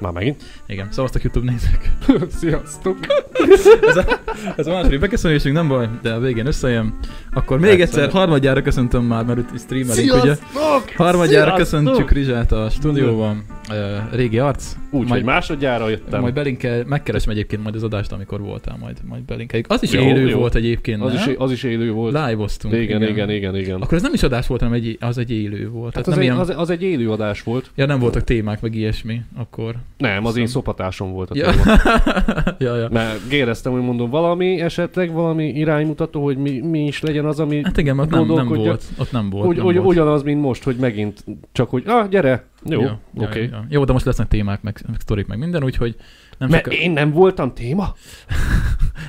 Már megint? Igen, szavaztak YouTube nézők. Sziasztok! Ez a, ez a második beköszönésünk, nem baj, de a végén összejön. Akkor még egyszer, harmadjára köszöntöm már, mert itt streamelünk, ugye? Harmadjára köszöntjük Rizsát a stúdióban. Ö, régi arc. Úgy, Majd- hogy másodjára jöttem. Majd belinkel, megkeresem egyébként majd az adást, amikor voltál, majd, majd belinkeljük. Az is Jó, élő jó. volt egyébként, az, nem? is, az is élő volt. Live-oztunk. igen, igen, igen, igen. Akkor ez nem is adás volt, hanem egy, az egy élő volt. hát Tehát az, nem egy, ilyen, az, az egy élő adás volt. Ja, nem voltak témák, meg ilyesmi, akkor. Nem, az Szóval- én szopatásom volt a Ja. téma. ja, ja. Mert géreztem, hogy mondom, valami esetleg, valami iránymutató, hogy mi, mi is legyen az, ami Hát igen, ott nem, nem Gondolkodja. volt. Ott nem volt. ugy, nem ugy, volt. ugyanaz, mint most, hogy megint csak, hogy ah, gyere, jó, Ja, oké. ja, ja. Jó, de most lesznek témák, meg, meg sztorik, meg minden, úgyhogy nem Mert csak én nem voltam téma?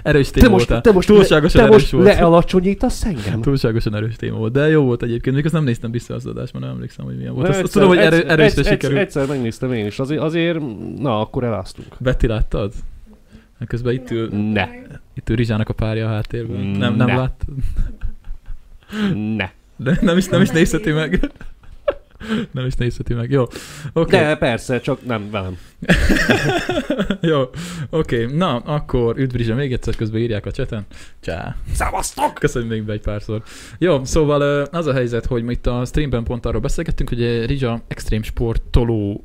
erős téma voltál. túlságosan te erős most volt. lealacsonyítasz engem? Túlságosan erős téma volt, de jó volt egyébként, miközben nem néztem vissza az adásban, nem emlékszem, hogy milyen volt. Na, Azt, azt tudom, hogy erő, Hát, egyszer- erősre egyszer- sikerült. Egyszer megnéztem én is, azért, azért na, akkor eláztunk. Betty láttad? Hát Közben itt ül, Ne, itt ül Rizsának a párja a háttérben. Mm, Nem, nem ne. láttad? ne. De nem is, nem is nézheti meg. Nem is nézheti meg. Jó, oké. Okay. De persze, csak nem velem. Jó, oké. Na, akkor üdv Rizsa, még egyszer közben írják a cseten. Csá. Szevasztok! Köszönjük még be egy párszor. Jó, szóval ö, az a helyzet, hogy mi itt a streamben pont arról beszélgettünk, hogy Rizsa extrém sportoló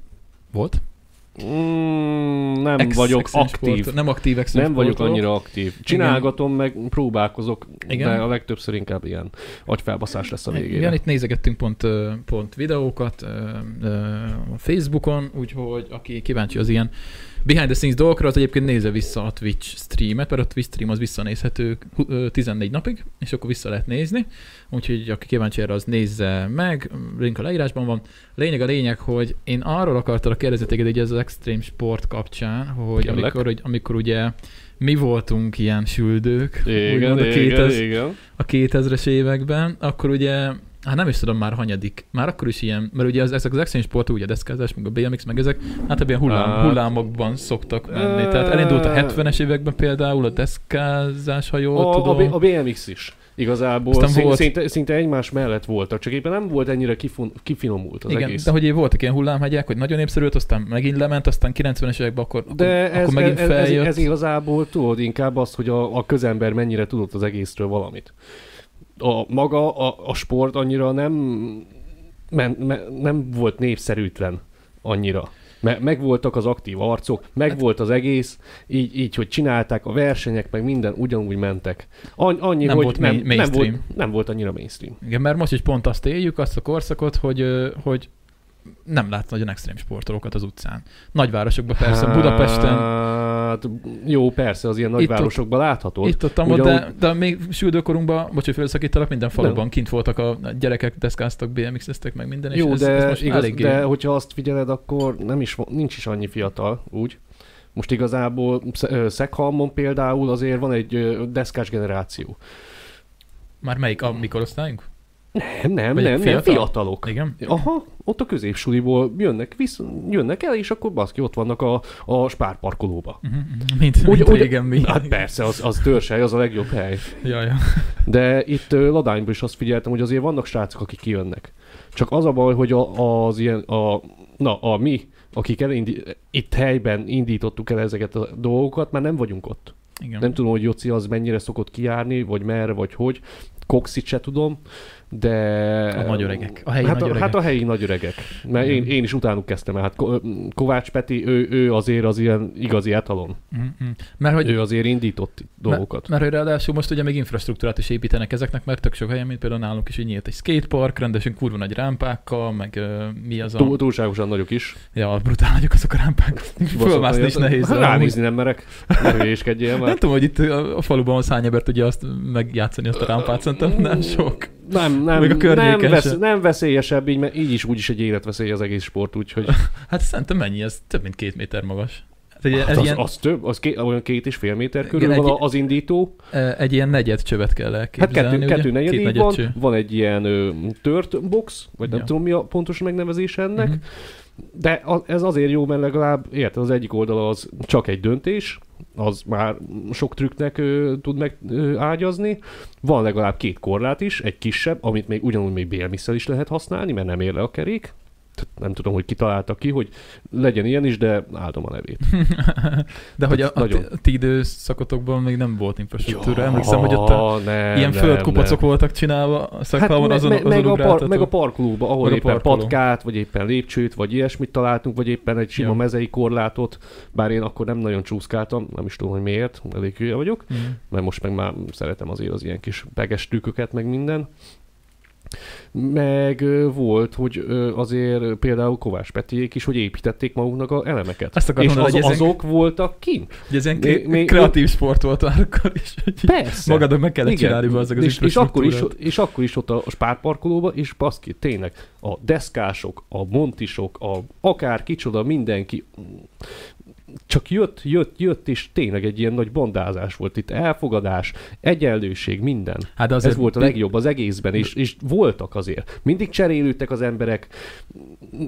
volt. Mm, nem Ex- vagyok extrém aktív. Sport, nem aktív extrém Nem vagyok sportoló. annyira aktív. Csinálgatom, meg próbálkozok, Igen. Igen? de a legtöbbször inkább ilyen agyfelbaszás lesz a végére. Igen, itt nézegettünk pont, ö, pont videókat ö, ö, a Facebookon, úgyhogy aki kíváncsi az ilyen behind the scenes dolgokra, az egyébként nézze vissza a Twitch streamet, mert a Twitch stream az visszanézhető hu- ö, 14 napig, és akkor vissza lehet nézni. Úgyhogy aki kíváncsi erre, az nézze meg, link a leírásban van. Lényeg a lényeg, hogy én arról akartalak kérdezni téged így ez az extrém sport kapcsán, hogy Kérlek. amikor, hogy amikor ugye mi voltunk ilyen süldők, Igen, úgymond a igen, 2000 igen. a 2000-es években, akkor ugye, hát nem is tudom már hanyadik, már akkor is ilyen, mert ugye az, ezek az exchange sportok, ugye a deszkázás, meg a BMX, meg ezek, hát ebben hullám, Hát- hullámokban szoktak menni. Ö- Tehát elindult a 70-es években például a deszkázás, ha jól A, a, tudom. B- a BMX is. Igazából Aztán szint, volt- volt... szinte, szinte egymás mellett voltak, csak éppen nem volt ennyire kifun, kifinomult az Igen, egész. de hogy így voltak ilyen hullámhegyek, hogy nagyon népszerűlt, aztán megint lement, aztán 90-es években akkor, De akkor, ez, akkor megint ez, ez, feljött. ez igazából tudod inkább azt, hogy a, a közember mennyire tudott az egészről valamit. A maga, a, a sport annyira nem, men, men, nem volt népszerűtlen annyira. Me, megvoltak az aktív arcok, megvolt az egész, így, így, hogy csinálták a versenyek, meg minden ugyanúgy mentek. An, annyi, Nem hogy volt nem, main- nem, mainstream. volt, nem volt annyira mainstream. Igen, mert most is pont azt éljük, azt a korszakot, hogy, ö, hogy nem látsz nagyon extrém sportolókat az utcán. Nagyvárosokban persze, Budapesten, Hát, jó, persze, az ilyen nagyvárosokban látható. Itt ott, amott, Ugyanúgy- de, de még süldőkorunkban, bocs, hogy félszakítalak, minden faluban nem. kint voltak a a gyerekek, deszkáztak, BMX-eztek meg minden, és Jó, ez, de, ez most igaz, eléggé... de hogyha azt figyeled, akkor nem is, va- nincs is annyi fiatal, úgy. Most igazából Sze- ö, Szeghalmon például azért van egy ö, deszkás generáció. Már melyik a mi korosztályunk? Nem, nem, Vagy nem, fiatal? nem, fiatalok. Igen? Aha, ott a középsuliból jönnek, visz, jönnek el, és akkor baszki, ott vannak a, a spárparkolóba. Mhm, mhm, Mint, Úgy- mint úgy- régen mi. Hát persze, az, az törsely, az a legjobb hely. ja, ja. De itt ö, Ladányban is azt figyeltem, hogy azért vannak srácok, akik kijönnek. Csak az a baj, hogy a, az ilyen, a, na, a mi, akik elindi, itt helyben indítottuk el ezeket a dolgokat, már nem vagyunk ott. Igen. Nem tudom, hogy Joci az mennyire szokott kijárni, vagy merre, vagy hogy. Coxit se tudom, de... A nagy öregek, a helyi hát, nagy a, hát a helyi nagy öregek. Mert én, én is utánuk kezdtem el. Hát Ko- Kovács Peti, ő, ő azért az ilyen igazi etalon. Mhm. Mert hogy Ő azért indított itt dolgokat. Mert, mert hogy ráadásul most ugye még infrastruktúrát is építenek ezeknek, mert tök sok helyen, mint például nálunk is így nyílt egy skatepark, rendesen kurva nagy rámpákkal, meg ö, mi az a... Túl, túlságosan nagyok is. Ja, brutálnak azok a rámpák. Fölmászni is nehéz. Hát amúgy. ránézni nem merek. Ne hülyéskedjél Nem már. tudom, hogy itt a a faluban az hány ember tudja azt megjátszani, azt a rámpát, szerintem nem sok. Nem, nem, Még a környéken nem, vesz, sem. nem veszélyesebb, így, mert így is úgyis egy életveszély az egész sport, úgyhogy Hát szerintem mennyi, ez több mint két méter magas. Hát egy, hát ez az, az, ilyen, az több, az ké, olyan két és fél méter körül Igen, van egy- az indító. eh, egy ilyen negyed csövet kell Hát elképzelni, kettő, ugye? kettő negyed két így negyed van, cső. van egy ilyen ö, tört box, vagy nem Ja. tudom mi a pontos megnevezés ennek, Mhm. de a, ez azért jó, mert legalább érted, az egyik oldala az csak egy döntés, az már sok trükknek ö, tud meg ö, ágyazni. Van legalább két korlát is, egy kisebb, amit még ugyanúgy még bélmisszel is lehet használni, mert nem ér le a kerék. tehát nem tudom, hogy kitalálta ki, hogy legyen ilyen is, de áldom a nevét. De hogy a, a, nagyon. ti- a ti időszakotokban még nem volt infrastruktúra. Emlékszem, hogy ott a nem, ilyen nem, földkupacok nem. voltak csinálva a szakmában azon, Hát meg, azon meg, a par, ugráltató. meg a parkolóba, ahol Meg a éppen parkoló. patkát, vagy éppen lépcsőt, vagy ilyesmit találtunk, vagy éppen egy sima Ja. mezei korlátot, bár én akkor nem nagyon csúszkáltam, nem is tudom, hogy miért, elég hülye vagyok, Mhm. mert most meg már szeretem azért az ilyen kis beges trükköket, meg minden. Meg ö, volt, hogy ö, azért például Kovács Petiék is, hogy építették maguknak a elemeket. Azt akarom És mondani, az, hogy ezen- azok voltak kint? Ugye ez ilyen Mi- mi- mi, kreatív sport volt már akkor is, hogy így Persze. magadnak meg kellett Igen. csinálni be az és, és, akkor is, infrastruktúrát. és akkor is ott a spárparkolóba, és baszki, tényleg a deszkások, a montisok, a akár kicsoda, mindenki csak jött, jött, jött, és tényleg egy ilyen nagy bandázás volt itt. Elfogadás, egyenlőség, minden. Hát de Azért azért Ez volt a legjobb az egészben, és, és voltak azért. Mindig cserélődtek az emberek.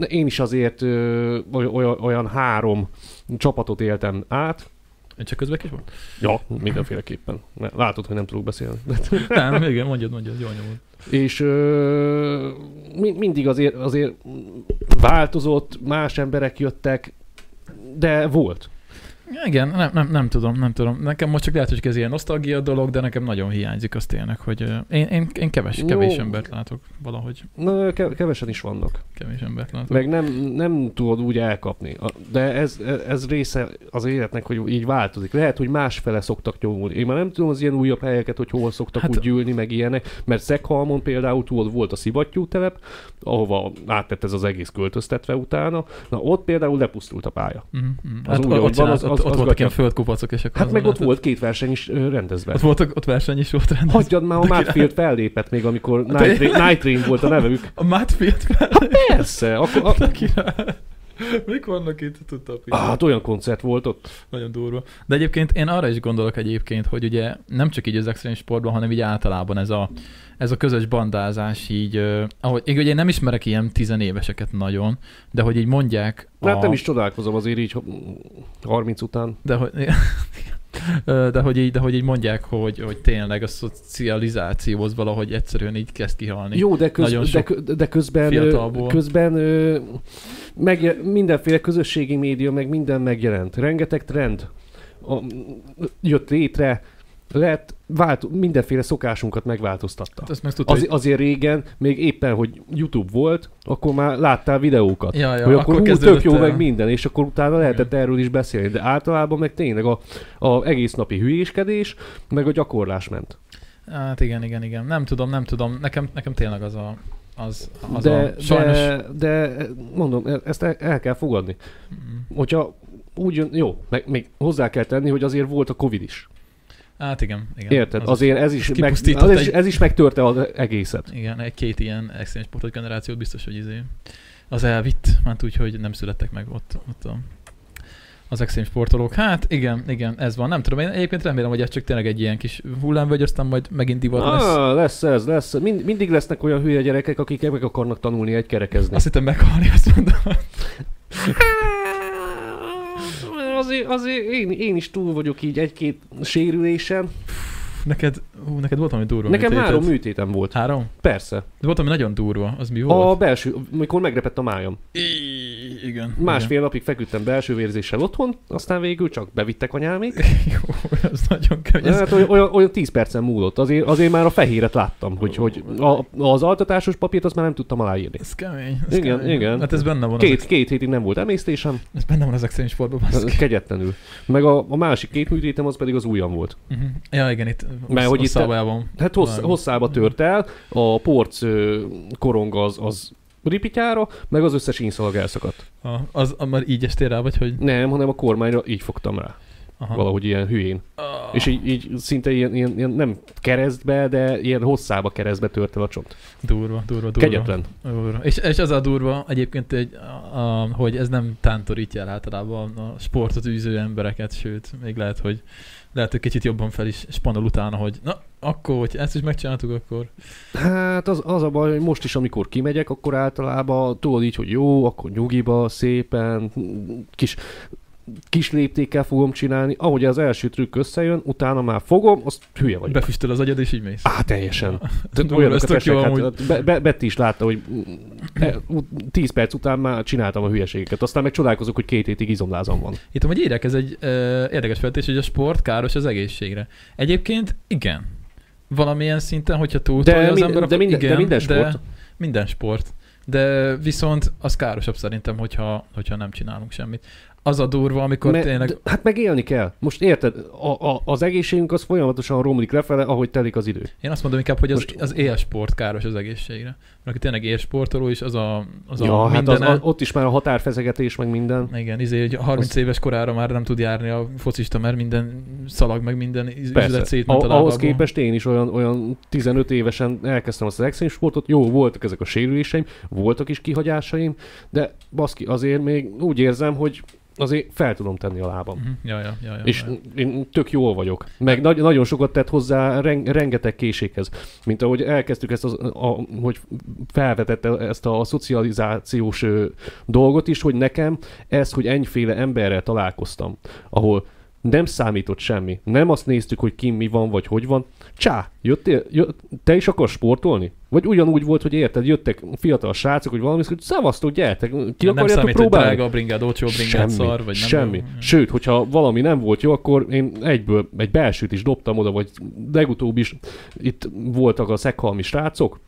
Én is azért ö, olyan, olyan három csapatot éltem át. Csak közbek is volt? Ja, mindenféleképpen. Látod, hogy nem tudok beszélni. Nem, igen, mondjad, mondjad, jól nyomod. És ö, mi- mindig azért, azért változott, más emberek jöttek, de volt. Igen, nem, nem, nem, tudom, nem tudom. Nekem most csak lehet, hogy ez ilyen nosztalgia dolog, de nekem nagyon hiányzik az tényleg, hogy ö, én, én, én keves, Jó. kevés embert látok valahogy. Na, ke- kevesen is vannak. Kevés embert látok. Meg nem, nem tudod úgy elkapni. A- De ez, ez része az életnek, hogy így változik. Lehet, hogy másfele szoktak nyomulni. Én már nem tudom az ilyen újabb helyeket, hogy hol szoktak Hát- hát, úgy gyűlni, meg ilyenek. Mert Szekhalmon például tudod, volt a szivattyú telep, ahova áttett ez az egész költöztetve utána. Na ott például lepusztult a pálya. Mhm, mhm. Az Hát úgy, o- ahogy ott, van, csinált- az- ott, az- ott az voltak gatya. ilyen földkupacok, és akkor Hát meg azon ott lehetett- volt két verseny is ö, rendezve. Ott, voltak, ott verseny is volt rendben. Hagyjad már, a Mudfield fellépett még, amikor Night, Rain, Night Rain volt a nevük. A Mátfield Persze, akkor, a, Mik vannak itt? Tudta a ah, pizza. hát olyan koncert volt ott. Nagyon durva. De egyébként én arra is gondolok egyébként, hogy ugye nem csak így az extrém sportban, hanem így általában ez a, ez a közös bandázás így, ö, ahogy én ugye nem ismerek ilyen tizenéveseket nagyon, de hogy így mondják, De hát a- nem is csodálkozom azért így ha- 30 után. de hogy, Ö, de hogy, így, de hogy így mondják, hogy, hogy tényleg a szocializációhoz valahogy egyszerűen így kezd kihalni. Jó, de, Nagyon köz, de, sok kö- de közben, ö, fiatalból. közben ö, meg, mindenféle közösségi média, meg minden megjelent. Rengeteg trend a, jött létre, lett, vált, mindenféle szokásunkat megváltoztatta. Hát Azt meg tudta, Az, hogy- azért régen, még éppen, hogy YouTube volt, akkor már láttál videókat. Ja, ja, hogy akkor, akkor hú, kezdődött tök jó el. meg minden, és akkor utána lehetett erről is beszélni, de általában meg tényleg a, a egész napi hülyéskedés, meg a gyakorlás ment. Hát igen, igen, igen. Nem tudom, nem tudom. Nekem, nekem tényleg az a, az, az de, a sajnos... de, de mondom, e- ezt el, el kell fogadni. Mm. Hogyha úgy jön, jó, meg még hozzá kell tenni, hogy azért volt a Covid is. Hát igen, igen. Érted? azért ez is, meg, kipusztított az is, egy- ez is megtörte az egészet. Igen, egy-két ilyen extrém sportos generációt biztos, hogy izé, az elvitt, mert úgy, hogy nem születtek meg ott, ott a, az extrém sportolók. Hát igen, igen, ez van. Nem tudom, én egyébként remélem, hogy ez csak tényleg egy ilyen kis hullám, vagy aztán majd megint divat lesz. Ah, lesz ez, lesz. Mind, mindig lesznek olyan hülye gyerekek, akik meg akarnak tanulni egy kerekezni. Azt hittem meghalni, azt mondom. Azért, azért Hát, én, én is túl vagyok így egy-két sérülésen. Neked, hú, neked volt valami durva Nekem műtéted? három műtétem volt. Három? Persze. De volt, ami nagyon durva. Az mi volt? A belső, amikor megrepett a májam. I- igen. Másfél napig feküdtem belső vérzéssel otthon, aztán végül csak bevittek anyámék. Jó, ez nagyon kemény. Ez- Hát olyan, olyan, olyan 10 percen múlott. Azért, azért már a fehéret láttam, hogy, hogy a, az altatásos papírt azt már nem tudtam aláírni. Ez kemény. Ez Igen, kemény. igen. Hát ez benne van, Két, Az, két hétig nem volt emésztésem, ez benne van az extrém sportban. baszki. kegyetlenül. Meg a, a másik két műtétem az pedig az ujjam volt. Mhm. Ja, igen, itt Mert hogy itt- Osszavában. Hát hossz, Vágom. hosszába tört el, a porc ö, korong az, az ripityára, meg az összes ínszalag elszakadt. A, az, a, már így estél rá, vagy hogy? Nem, hanem a kormányra így fogtam rá. Aha. Valahogy ilyen hülyén. Ah, És így, így szinte ilyen, ilyen, ilyen, nem keresztbe, de ilyen hosszába keresztbe tört el a csont. Durva, durva, durva. Kegyetlen. Durva. És, és az a durva egyébként, hogy, a, a, hogy ez nem tántorítja el általában a sportot űző embereket, sőt, még lehet, hogy lehet, hogy kicsit jobban fel is spanol utána, hogy na, akkor, hogy ezt is megcsináltuk, akkor Hát az, az a baj, hogy most is, amikor kimegyek, akkor általában tudod így, hogy jó, akkor nyugiba, szépen, kis kis léptékkel fogom csinálni, ahogy az első trükk összejön, utána már fogom, azt hülye vagyok. Befüstöl az agyad, és így mész. Á, teljesen. Tehát Durva, ez olyanokat tök jó esek, amúgy. hát, be, be, Betty is látta, hogy 10 perc után már csináltam a hülyeségeket. Aztán meg csodálkozok, hogy két hétig izomlázam van. Itt amúgy érdekes, ez egy ö, érdekes feltés, hogy a sport káros az egészségre. Egyébként igen. Valamilyen szinten, hogyha túltolja De az min- ember, de akkor minden- de igen, minden sport. minden sport. De viszont az károsabb szerintem, hogyha, hogyha nem csinálunk semmit. Az a durva, amikor Me- tényleg... de- Hát meg élni kell. Most érted, a, a, az egészségünk az folyamatosan romlik lefele, ahogy telik az idő. Én azt mondom inkább, hogy az, Most- az élsport káros az egészségre. Mert aki tényleg élsportoló, és az a, az ja, a hát az, mindene... a, ott is már a határfezegetés, meg minden. Igen, izé, hogy 30 Az- éves korára már nem tud járni a focista, mert minden szalag, meg minden iz- üzlet Persze. szétment a A, ahhoz lábából. képest én is olyan, olyan 15 évesen elkezdtem azt az extrém sportot, jó, voltak ezek a sérüléseim, voltak is kihagyásaim, de baszki, azért még úgy érzem, hogy azért fel tudom tenni a lábam. Mhm. Ja, ja, ja, ja, És ja. én tök jól vagyok. Meg nagy, nagyon sokat tett hozzá ren, rengeteg késéghez. Mint ahogy elkezdtük ezt, az, a, hogy felvetette ezt a szocializációs ö, dolgot is, hogy nekem ez, hogy ennyféle emberrel találkoztam, ahol nem számított semmi. Nem azt néztük, hogy ki mi van, vagy hogy van. Csá, jöttél, jö, te is akarsz sportolni? Vagy ugyanúgy volt, hogy érted, jöttek fiatal srácok, hogy valami, hogy szavaztok, gyertek, ki nem akarjátok számít, hogy próbálni? drága a bringád, olcsó a bringád, szar, vagy nem. semmi. Sőt, hogyha valami nem volt jó, akkor én egyből egy belsőt is dobtam oda, vagy legutóbb is itt voltak a szekhalmi srácok,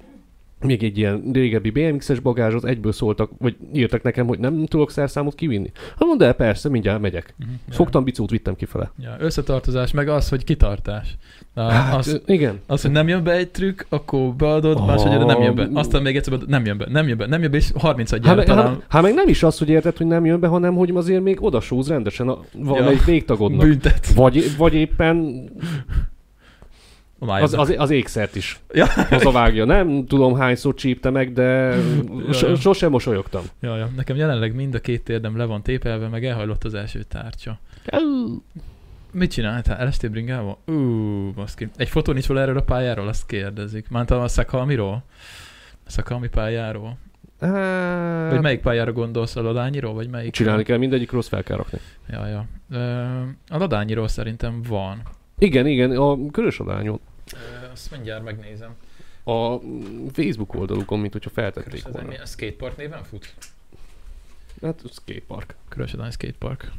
még egy ilyen régebbi BMX-es bagázsot egyből szóltak, vagy írtak nekem, hogy nem tudok szerszámot kivinni. Hát mondd el, persze, mindjárt megyek. Mhm. Ja. Fogtam bicót, vittem kifele. Ja. Összetartozás, meg az, hogy kitartás. Na, Hát, az, ö, igen. az, hogy nem jön be egy trükk, akkor beadod, máshogy nem jön be. Aztán még egyszer beadod, nem jön be, nem jön be, nem jön be, és 30 Oh. Hát gyerek meg, talán hát, hát meg nem is az, hogy érted, hogy nem jön be, hanem hogy azért még odasóz rendesen a, valamelyik ja. végtagodnak. büntet. Vagy, vagy éppen Az, Az, az, az ékszert is Ja. ja. hazavágja. Nem tudom hányszor csípte meg, de Ja, ja. so, sosem mosolyogtam. ja, ja. Nekem jelenleg mind a két térdem le van tépelve, meg elhajlott az első tárcsa. Mit Hát, csináltál? Elestél bringával? Ú, baszki. Egy fotó nincs róla erről a pályáról, azt kérdezik. Mántam a Szakalmiról? A Szakalmi pályáról? Vagy Hát, melyik pályára gondolsz? A Ladányiról? Vagy melyik? csinálni kell, mindegyik rossz fel kell rakni. Ja, ja. Ö, A Ladányiról szerintem van. Igen, igen, a körös adányon. Ö, Azt mindjárt megnézem. A Facebook oldalukon, mint hogyha feltették Ez volna. mi? A skatepark néven fut? Hát skatepark. Körösödány skatepark.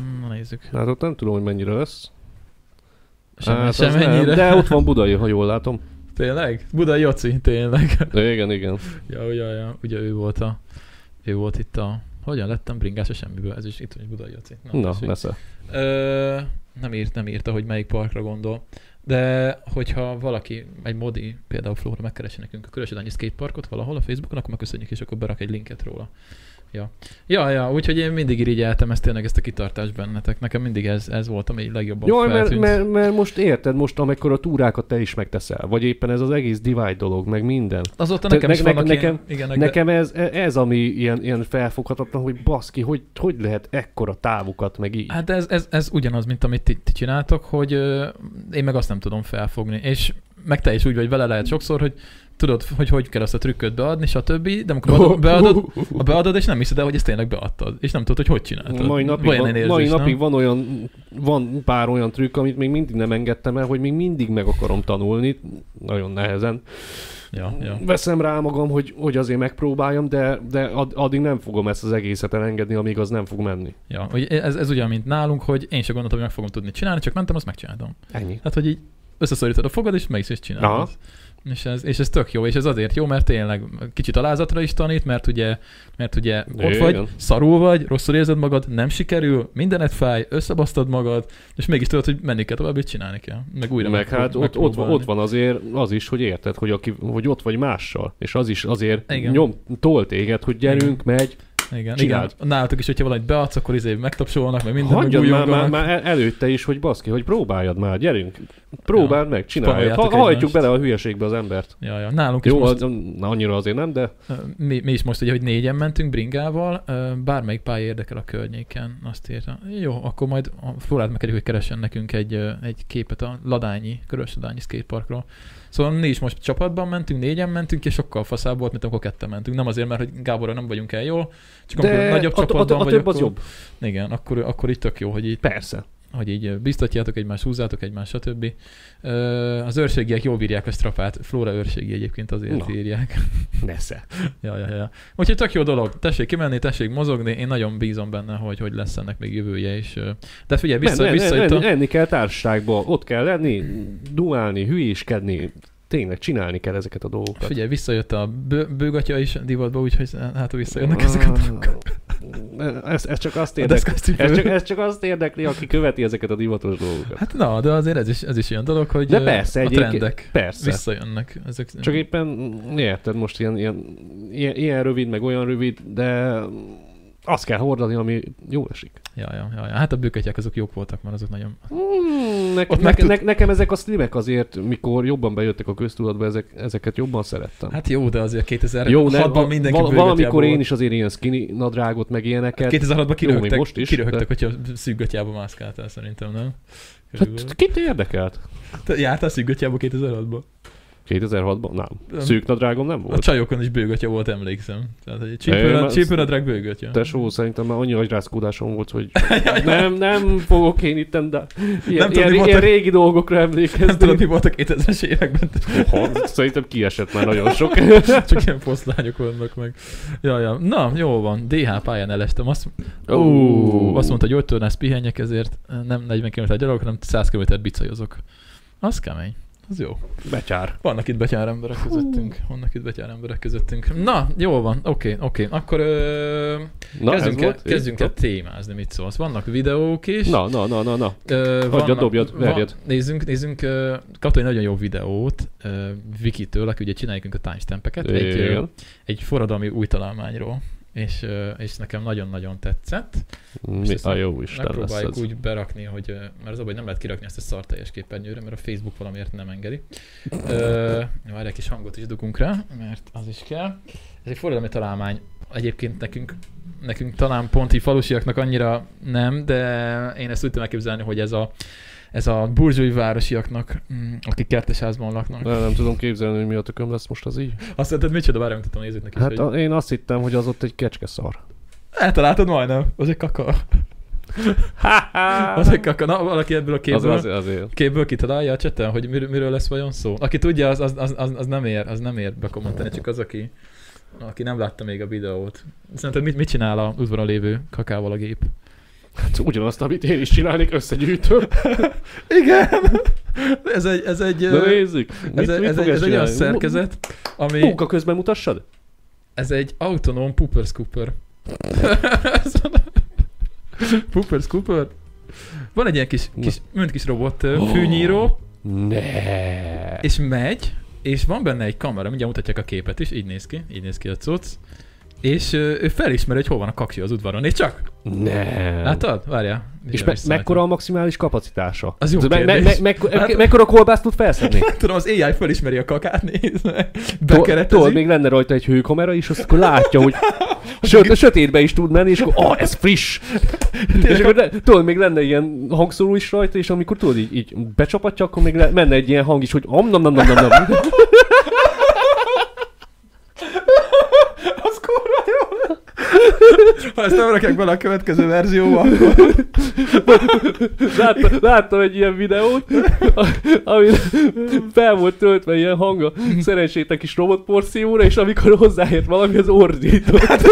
Mm, Na nézzük. Hát ott nem tudom, hogy mennyire lesz. Sem, hát, hát, az sem ennyire. nem, de ott van Budai, ha jól látom. Tényleg? Budai Joci, tényleg. De igen, igen. ja, ja, ja. Ugye ő volt a... Ő volt itt a... Hogyan lettem bringás a semmiből? Ez is itt van, hogy Budai Joci. Na, hát tessék. nesze. Ö, nem, írt, nem írta, hogy melyik parkra gondol. De hogyha valaki, egy modi, például Flóra megkeresi nekünk a Körösödányi Skateparkot valahol a Facebookon, akkor megköszönjük, és akkor berak egy linket róla. Ja. ja, ja, úgyhogy én mindig irigyeltem ezt tényleg, ezt a kitartást bennetek. Nekem mindig ez, ez volt, ami legjobban Jaj, mert, feltűnt. mert, mert, most érted, most amikor a túrákat te is megteszel, vagy éppen ez az egész divide dolog, meg minden. Azóta Te- nekem is ne- vannak nekem- ilyen, igen, Nekem ez, ez ami ilyen, ilyen felfoghatatlan, hogy baszki, hogy, hogy lehet ekkora távokat, meg így. Hát ez, ez, ez ugyanaz, mint amit ti, ti csináltok, hogy ö, én meg azt nem tudom felfogni, és meg te is úgy vagy vele lehet sokszor, hogy tudod, hogy hogy kell azt a trükköt beadni, stb., de amikor beadod, beadod, a beadod és nem hiszed el, hogy ezt tényleg beadtad, és nem tudod, hogy hogy csináltad. Mai napig, Olyan van, érzés, mai nem? napig van, olyan, van pár olyan trükk, amit még mindig nem engedtem el, hogy még mindig meg akarom tanulni, nagyon nehezen. Ja, ja. Veszem rá magam, hogy, hogy azért megpróbáljam, de, de ad, addig nem fogom ezt az egészet elengedni, amíg az nem fog menni. ja. Ugye Ez, ez ugyan, mint nálunk, hogy én sem gondoltam, hogy meg fogom tudni csinálni, csak mentem, azt megcsináltam. Ennyi. Hát, hogy így összeszorítod a fogad, és meg is, is csinálod. Aha. És ez, és ez tök jó, és ez azért jó, mert tényleg kicsit alázatra is tanít, mert ugye, mert ugye ott Igen. vagy, szarul vagy, rosszul érzed magad, nem sikerül, mindenet fáj, összebasztad magad, és mégis tudod, hogy menni kell tovább, és csinálni kell. Meg újra Meg hát ott, ott, megpróbálni. ott van azért az is, hogy érted, hogy, aki, hogy ott vagy mással, és az is azért Igen. Igen. nyom, tol téged, hogy gyerünk, megy, Igen, igen. Csináld. Nálatok is, hogyha valamit beadsz, akkor izé megtapsolnak, meg minden, meg Hagyjad már, már, újonganak. már el- előtte is, hogy baszki, hogy próbáljad már, gyerünk, próbáld meg, csinálj. Spároljátok Ha, hajtjuk egymást. bele a hülyeségbe az embert. Ja, ja. Nálunk is Jó, most az, na, annyira azért nem, de Mi, mi is most ugye, hogy négyen mentünk bringával, ö, bármelyik pálya érdekel a környéken, azt írta. Jó, akkor majd a Flórát megkerüljük, hogy keressen nekünk egy, ö, egy képet a Ladányi, Körös Ladányi skateparkról. Szóval mi is most csapatban mentünk, négyen mentünk, és sokkal faszább volt, mint amikor ketten mentünk. Nem azért, mert hogy Gáborra nem vagyunk el jól, csak amikor De nagyobb a, a, csapatban a, a vagyok, több az akkor- jobb. Igen, akkor, akkor így tök jó, hogy így Persze. hogy így biztatjátok egymást, húzzátok egymást, stb. Ö, Az őrségiek jól bírják a strapát, Flóra őrségi egyébként azért Na. Na. írják. Nesze. ja, ja, ja. Úgyhogy tök jó dolog, tessék kimenni, tessék mozogni, én nagyon bízom benne, hogy hogy lesz ennek még jövője is. Ö, De figyelj, vissza, Men- men- vissza men- itt a... Enni kell társaságba, ott kell lenni, duálni, hülyéskedni, tényleg csinálni kell ezeket a dolgokat. Figyelj, visszajött a bő, bőgatya is divatba, úgyhogy hát ha visszajönnek Ah, ezek a dolgok. ez, ez, csak azt A érdekli, deszkasztipő. ez, csak, ez csak azt érdekli, aki követi ezeket a divatos dolgokat. Hát na, de azért ez is, ez is olyan dolog, hogy De ö, persze, a egyébként- trendek Persze. visszajönnek. Ezek... Csak éppen, mm, érted, most ilyen, ilyen, ilyen, ilyen rövid, meg olyan rövid, de azt kell hordani, ami jól esik. Ja, ja, ja, ja. Hát a bőgatyák azok jók voltak már, azok nagyon... Mm, ne, Ott ne, meg tud- ne, nekem ezek a streamek azért, mikor jobban bejöttek a köztudatba, ezek, ezeket jban szerettem. Hát jó, de azért 2006-ban Jó, ne, val- mindenki Hát val- val- valamikor én is azért ilyen skinny nadrágot, meg ilyeneket. 2006-ban Jó, még kiröhögtek, most is, kiröhögtek de- hogyha szűk gatyába mászkáltál, szerintem, nem? Körülbelül. Hát, kit érdekelt? Te jártál szűk gatyába 2006-ban? 2006-ban? Nem. Nem. Hát, Szűk nadrágom nem A volt. csajokon is bőgatya volt, emlékszem. Tehát egy Én csípőn- már- csípőnadrág bőgatya. Tesó, szerintem már annyi agyrázkódásom volt, hogy nem, nem fogok én itten, de ilyen, tudod, ilyen, mi volt ilyen a- régi dolgokra Nem tudod, mi emlékezni. volt a 2000-es években, Oha, szerintem kiesett már nagyon sok. csak ilyen poszlányok vannak meg. Ja, ja. Na, jó van. DH pályán elestem. Azt, Ó. ó, azt mondta, hogy gyógytornász pihenjek ezért. Nem 40 km gyalog, hanem 100 km bicajozok. Az kemény. Az jó. Becsár. Vannak itt betyár emberek közöttünk. Vannak itt betyár emberek közöttünk. Na, jól van, oké, oké. Akkor ö, Na, kezdjünk, ez el, volt. kezdjünk el témázni, mit szólsz. Vannak videók is. Na, na, na, na, na. Ö, Adjad, dobjad, van- verjed. nézzünk, nézzünk, ö, kaptam egy nagyon jó videót ö, Vikitől, aki ugye csináljuk nekünk a timestampeket, egy, ö, Igen. egy forradalmi új találmányról, és, ö, és nekem nagyon-nagyon tetszett. Mi ezt a jó Isten lesz Megpróbáljuk ez. úgy berakni, hogy, ö, mert az a baj, hogy nem lehet kirakni ezt a szar teljes képernyőre, mert a Facebook valamiért nem engedi. Ö, Már egy kis hangot is dugunk rá, mert az is kell. Ez egy forradalmi találmány. Egyébként nekünk, nekünk talán pont így falusiaknak annyira nem, de én ezt úgy tudom elképzelni, hogy ez a ez a burzsói városiaknak, mm, akik kertesházban laknak. Nem, nem tudom képzelni, hogy mi a tököm lesz most az így. Azt mondtad, micsoda, várjál, mutatom a nézőknek is, Hát hogy... a, én azt hittem, hogy az ott egy kecske szar. Eltaláltad majdnem, az egy kaka. Az egy kaka. Na, valaki ebből a Hát az, képből... az, azért. képből kitalálja a cseten, hogy mir- miről lesz vajon szó? Aki tudja, az, az, az, az, az nem ér, az nem ér bekommenteni, csak az, aki, aki nem látta még a videót. Szerinted mit, mit csinál a udvaron lévő kakával a gép? Hát ugyanazt, amit én is csinálnék, összegyűjtöm. Igen! ez egy, ez egy, Na ö, nézzük. Mit, ez, egy- mit ez, egy, fog ez egy olyan csinálni? szerkezet, Mu- ami, Munka közben mutassad? ez egy autonóm pooper scooper. pooper scooper? Van egy ilyen kis, kis, mint kis robot ö, fűnyíró, Ne. És megy, és van benne egy kamera, mindjárt mutatják a képet is, így néz ki, így néz ki a cucc. És ö, ő felismeri, hogy hol van a kaksi az udvaron, és csak, Ne. látod? Várjál. és mindjárt me- visszaállítom. mekkora a maximális kapacitása? Az jó Ez me- me- kérdés. me- me- Hát- mekkora kolbászt tud felszedni? Tudom, az AI felismeri a kakát, nézd meg. Tol- Tudod, Bekeretezi. még lenne rajta egy hőkamera is, azt akkor látja, hogy Sőt, a sötétbe is tud menni, és akkor, ah, ez friss! és akkor, le, tudod, még lenne ilyen hangszóró is rajta, és amikor tudod, így, így becsapatja, akkor még le, menne egy ilyen hang is, hogy om, nam, nam, nam, nam, nam. Az kurva jó. Ha ezt nem rakják bele a következő verzióba, akkor Láttam, láttam egy ilyen videót, ami fel volt töltve ilyen hanga szerencsétek kis robotporszívóra, és amikor hozzáért valami, az ordított. Hát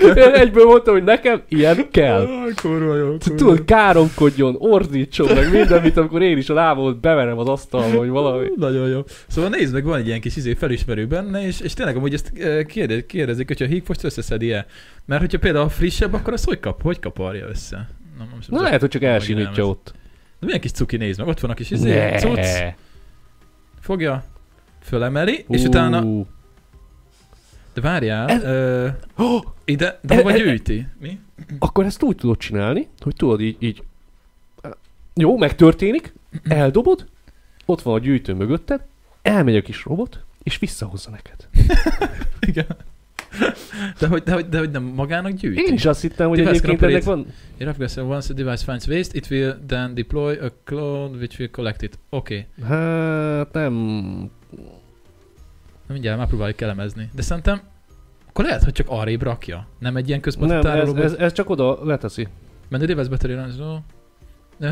Én egyből mondtam, hogy nekem ilyen kell. Aj, kurva jó. Kurva. Tudod, káromkodjon, ordítson meg minden, mint amikor én is a lábamot beverem az asztalba, hogy valami. Nagyon jó. Szóval nézd meg, van egy ilyen kis izé felismerő benne, és, és tényleg amúgy ezt eh, kérde- kérdezik, hogyha a hígfost összeszedi-e. Mert hogyha például frissebb, akkor azt hogy kap? Hogy kaparja össze? Na, most Na lehet, hogy csak elsimítja elsimítja ott. De milyen kis cuki néz meg, ott van a kis izé, Ne. cucc, fogja, fölemeli, és utána, Ú. de várjál, Ez- ö, Ó, ide, de E- hova e- gyűjti? Mi? Akkor ezt úgy tudod csinálni, hogy tudod így, így eh, jó, megtörténik, eldobod, ott van a gyűjtő mögötted, elmegy a kis robot, és visszahozza neked. Igen. De hogy, de, hogy, de hogy nem magának gyűjti. Én is azt hittem, hogy Device egyébként ennek van... Your upgrade once a device finds waste, it will then deploy a clone which will collect it. Oké, okay. Hát nem... Na mindjárt már próbáljuk elemezni. De szerintem akkor lehet, hogy csak arrébb rakja. Nem egy ilyen központi Nem, ez, tárolóba. ez, ez, csak oda leteszi. Mert a device battery runs low.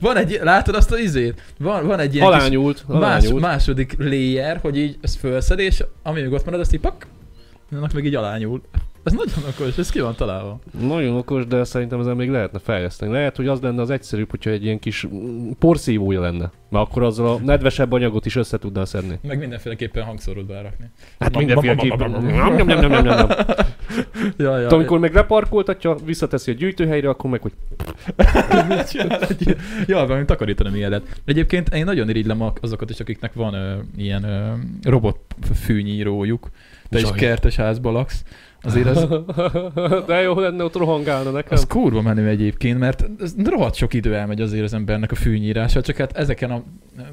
van egy, látod azt az izét? Van, van egy ilyen kis- Alányult, Más, alányult. második layer, hogy így ezt felszed, és ami még ott marad, azt így pak, annak meg így alányul. Ez nagyon okos, ez ki van találva. Nagyon okos, de szerintem ezen még lehetne fejleszteni. Lehet, hogy az lenne az egyszerűbb, hogyha egy ilyen kis mm, porszívója lenne. Mert akkor azzal a nedvesebb anyagot is össze tudnál szedni. Meg mindenféleképpen hangszorút berakni. Hát mindenféleképpen. Nem, nem, nem, nem, nem, nem. Ja, ja. De amikor meg leparkoltatja, visszateszi a gyűjtőhelyre, akkor meg hogy Mit csinál egy ilyen? ja, valami takarítanám ilyenet. Egyébként én nagyon irigylem a- azokat is, akiknek van ö, ilyen ö, robot fűnyírójuk. Te is Zsaj. kertes házba laksz. Azért az, De jó lenne, ott rohangálna nekem. Az kurva menő egyébként, mert ez rohadt sok idő elmegy azért az embernek a fűnyírása, csak hát ezeken a...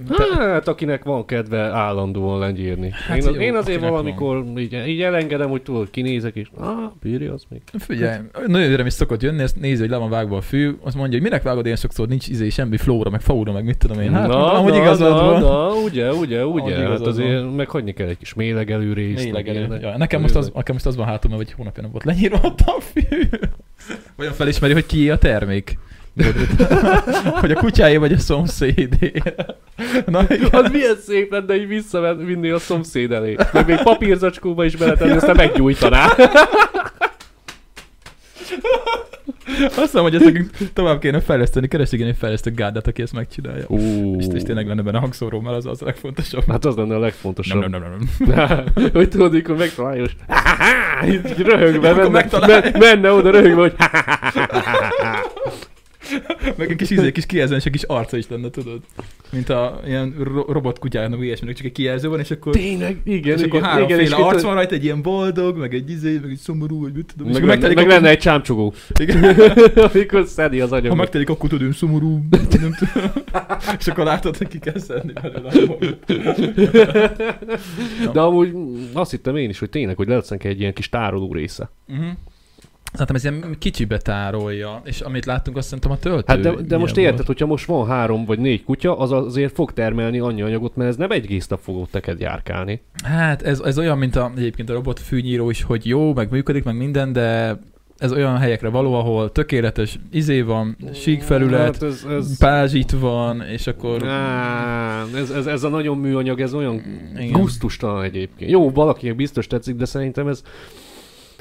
Te, Hát, akinek van kedve állandóan lengyírni. Hát én, jó, az, én azért akinek valamikor így, így, elengedem, hogy tudod, kinézek, és ah, bírja az még. figyelj, nagyon öröm is szokott jönni, ezt nézi, hogy le van vágva a fű, azt mondja, hogy minek vágod ilyen sokszor, nincs izé, semmi flóra, meg faura, meg mit tudom én. Hát, na, mondtam, hogy igazad na, van. Na, ugye, ugye, Ahogy ugye. Hát igazad azért meg hagyni kell egy kis mélegelőrést. Tényleg meg elő. ilyenek. Ja, nekem, most az, Tényleg. nekem most az van hátul, mert hogy hónapja nem volt lenyírva ott a fű. Olyan felismeri, hogy kié a termék. hogy a kutyája vagy a szomszédé. Na, igen. Az milyen szép lenne, így visszavinni a szomszéd elé. Meg még papírzacskóba is beletenni, aztán meggyújtaná. Azt hiszem, hogy ezt nekünk tovább kéne fejleszteni. Keresik egy fejlesztő gárdát, aki ezt megcsinálja. Ú. És, és tényleg lenne benne hangszóró, mert az az a legfontosabb. Hát az lenne a nem, legfontosabb. nem, nem, nem, nem. hogy tudod, mikor megtalálja, és így röhögve, Amikor menne, megtalálja. Hát men- menne oda röhögve, hogy Meg egy kis ízé, kis kijelzőn, és egy kis arca is lenne, tudod? Mint a ilyen ro- robotkutyának, ilyesminek, csak egy kijelző van, és akkor... tényleg, igen, és igen, akkor háromféle igen, és arc itt- van rajta, egy ilyen boldog, meg egy izé, meg egy szomorú, vagy mit tudom. és meg, akkor lenne, megtelik meg a- lenne egy csámcsogó, Igen. amikor szedi az Ha anyagot. megtelik, akkor tudod, én szomorú, nem tudom. És akkor látod, hogy ki kell szedni belőle a boldog. De amúgy azt hittem én is, hogy tényleg, hogy lesznek egy ilyen kis tároló része. Mhm. Szerintem ez ilyen kicsibe tárolja, és amit láttunk, azt szerintem a töltő. Hát de, de ilyen most volt. érted, hogyha most van három vagy négy kutya, az azért fog termelni annyi anyagot, mert ez nem egy egész nap fog ott neked járkálni. Hát ez, ez olyan, mint a, egyébként a robot fűnyíró is, hogy jó, meg működik, meg minden, de ez olyan helyekre való, ahol tökéletes izé van, sík felület, Hát ez, ez, pázsit van, és akkor... Á, ez, ez, ez a nagyon műanyag, ez olyan Igen. gusztustalan egyébként. Jó, valakinek biztos tetszik, de szerintem ez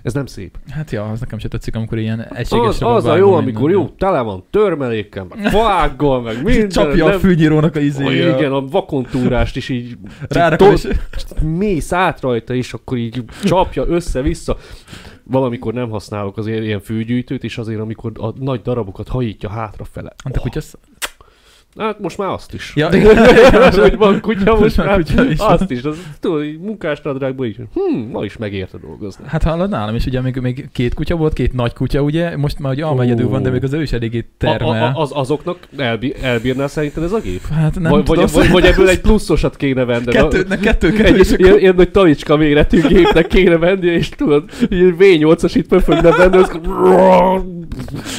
ez nem szép. Hát ja, az nekem se tetszik, amikor ilyen egységes Az, az a jó, amikor jó, tele van törmelékkel, meg faággal, meg minden. Csapja a nem- fűnyírónak a Ó, izé. igen, a vakontúrást is így Rárakom, Tol- és mész át rajta, és akkor így csapja össze-vissza. Valamikor nem használok azért ilyen fűgyűjtőt, és azért amikor a nagy darabokat hajítja hátrafele. Hát a kutya... sz- Hát most már azt is. Ja. hogy van kutya, most Most már már kutya is. azt is. Az, tudod, így munkásnadrágban így, hm, ma is megérte dolgozni. Hát hallod nálam is, ugye még, még két kutya volt, két nagy kutya, ugye? Most már ugye alma egyedül van, de még az ő is eléggé termel. A, a, az, azoknak elbi, elbírná szerinted ez a gép? Hát nem vagy, tudom, vagy, vagy, vagy, ebből egy pluszosat kéne venned. kettőnek kettő kell, és egy akkor- ilyen, ilyen nagy talicska méretű gépnek kéne venni, és tudod, így V8-as itt pöfögne benne, az...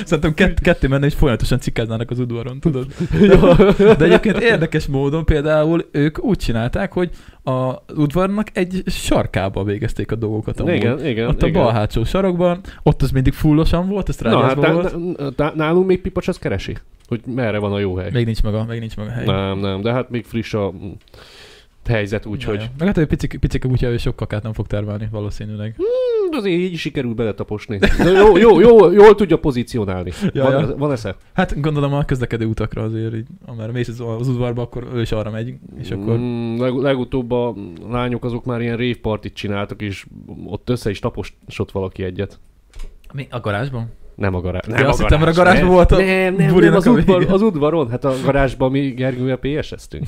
Szerintem kett, ketté menne, és folyamatosan cikáznának az udvaron, tudod? De egyébként érdekes módon például ők úgy csinálták, hogy az udvarnak egy sarkába végezték a dolgokat Hát amúgy. igen, igen, Ott a igen. bal hátsó sarokban, ott az mindig fullosan volt, ezt Na, hát rágyázva volt. tá- tá- nálunk még pipacs az keresi, hogy merre van a jó hely. Még nincs maga, még nincs maga hely. Nem, nem, de hát még friss a mm, helyzet, úgyhogy... Jaj, Meg hát, hogy picik, picik a kutya, ő sok kakát nem fog termelni valószínűleg. Mm, Azért így sikerül beletaposni. De jó, jó, jó, jól tudja pozícionálni. Ja, van, ja. van esze? Hát gondolom a közlekedő utakra azért, így, amire mész az, az udvarba, akkor ő is arra megy, és akkor... Mm, leg, legutóbb a lányok azok már ilyen révpartit csináltak, és ott össze is taposott valaki egyet. Mi? A garázsban? Nem a garázs. Nem azt hittem, mert a garázsban volt a nem, nem, nem, bulinak az, a udvar, vége. az udvaron. Hát a garázsban mi Gergővel PS-eztünk.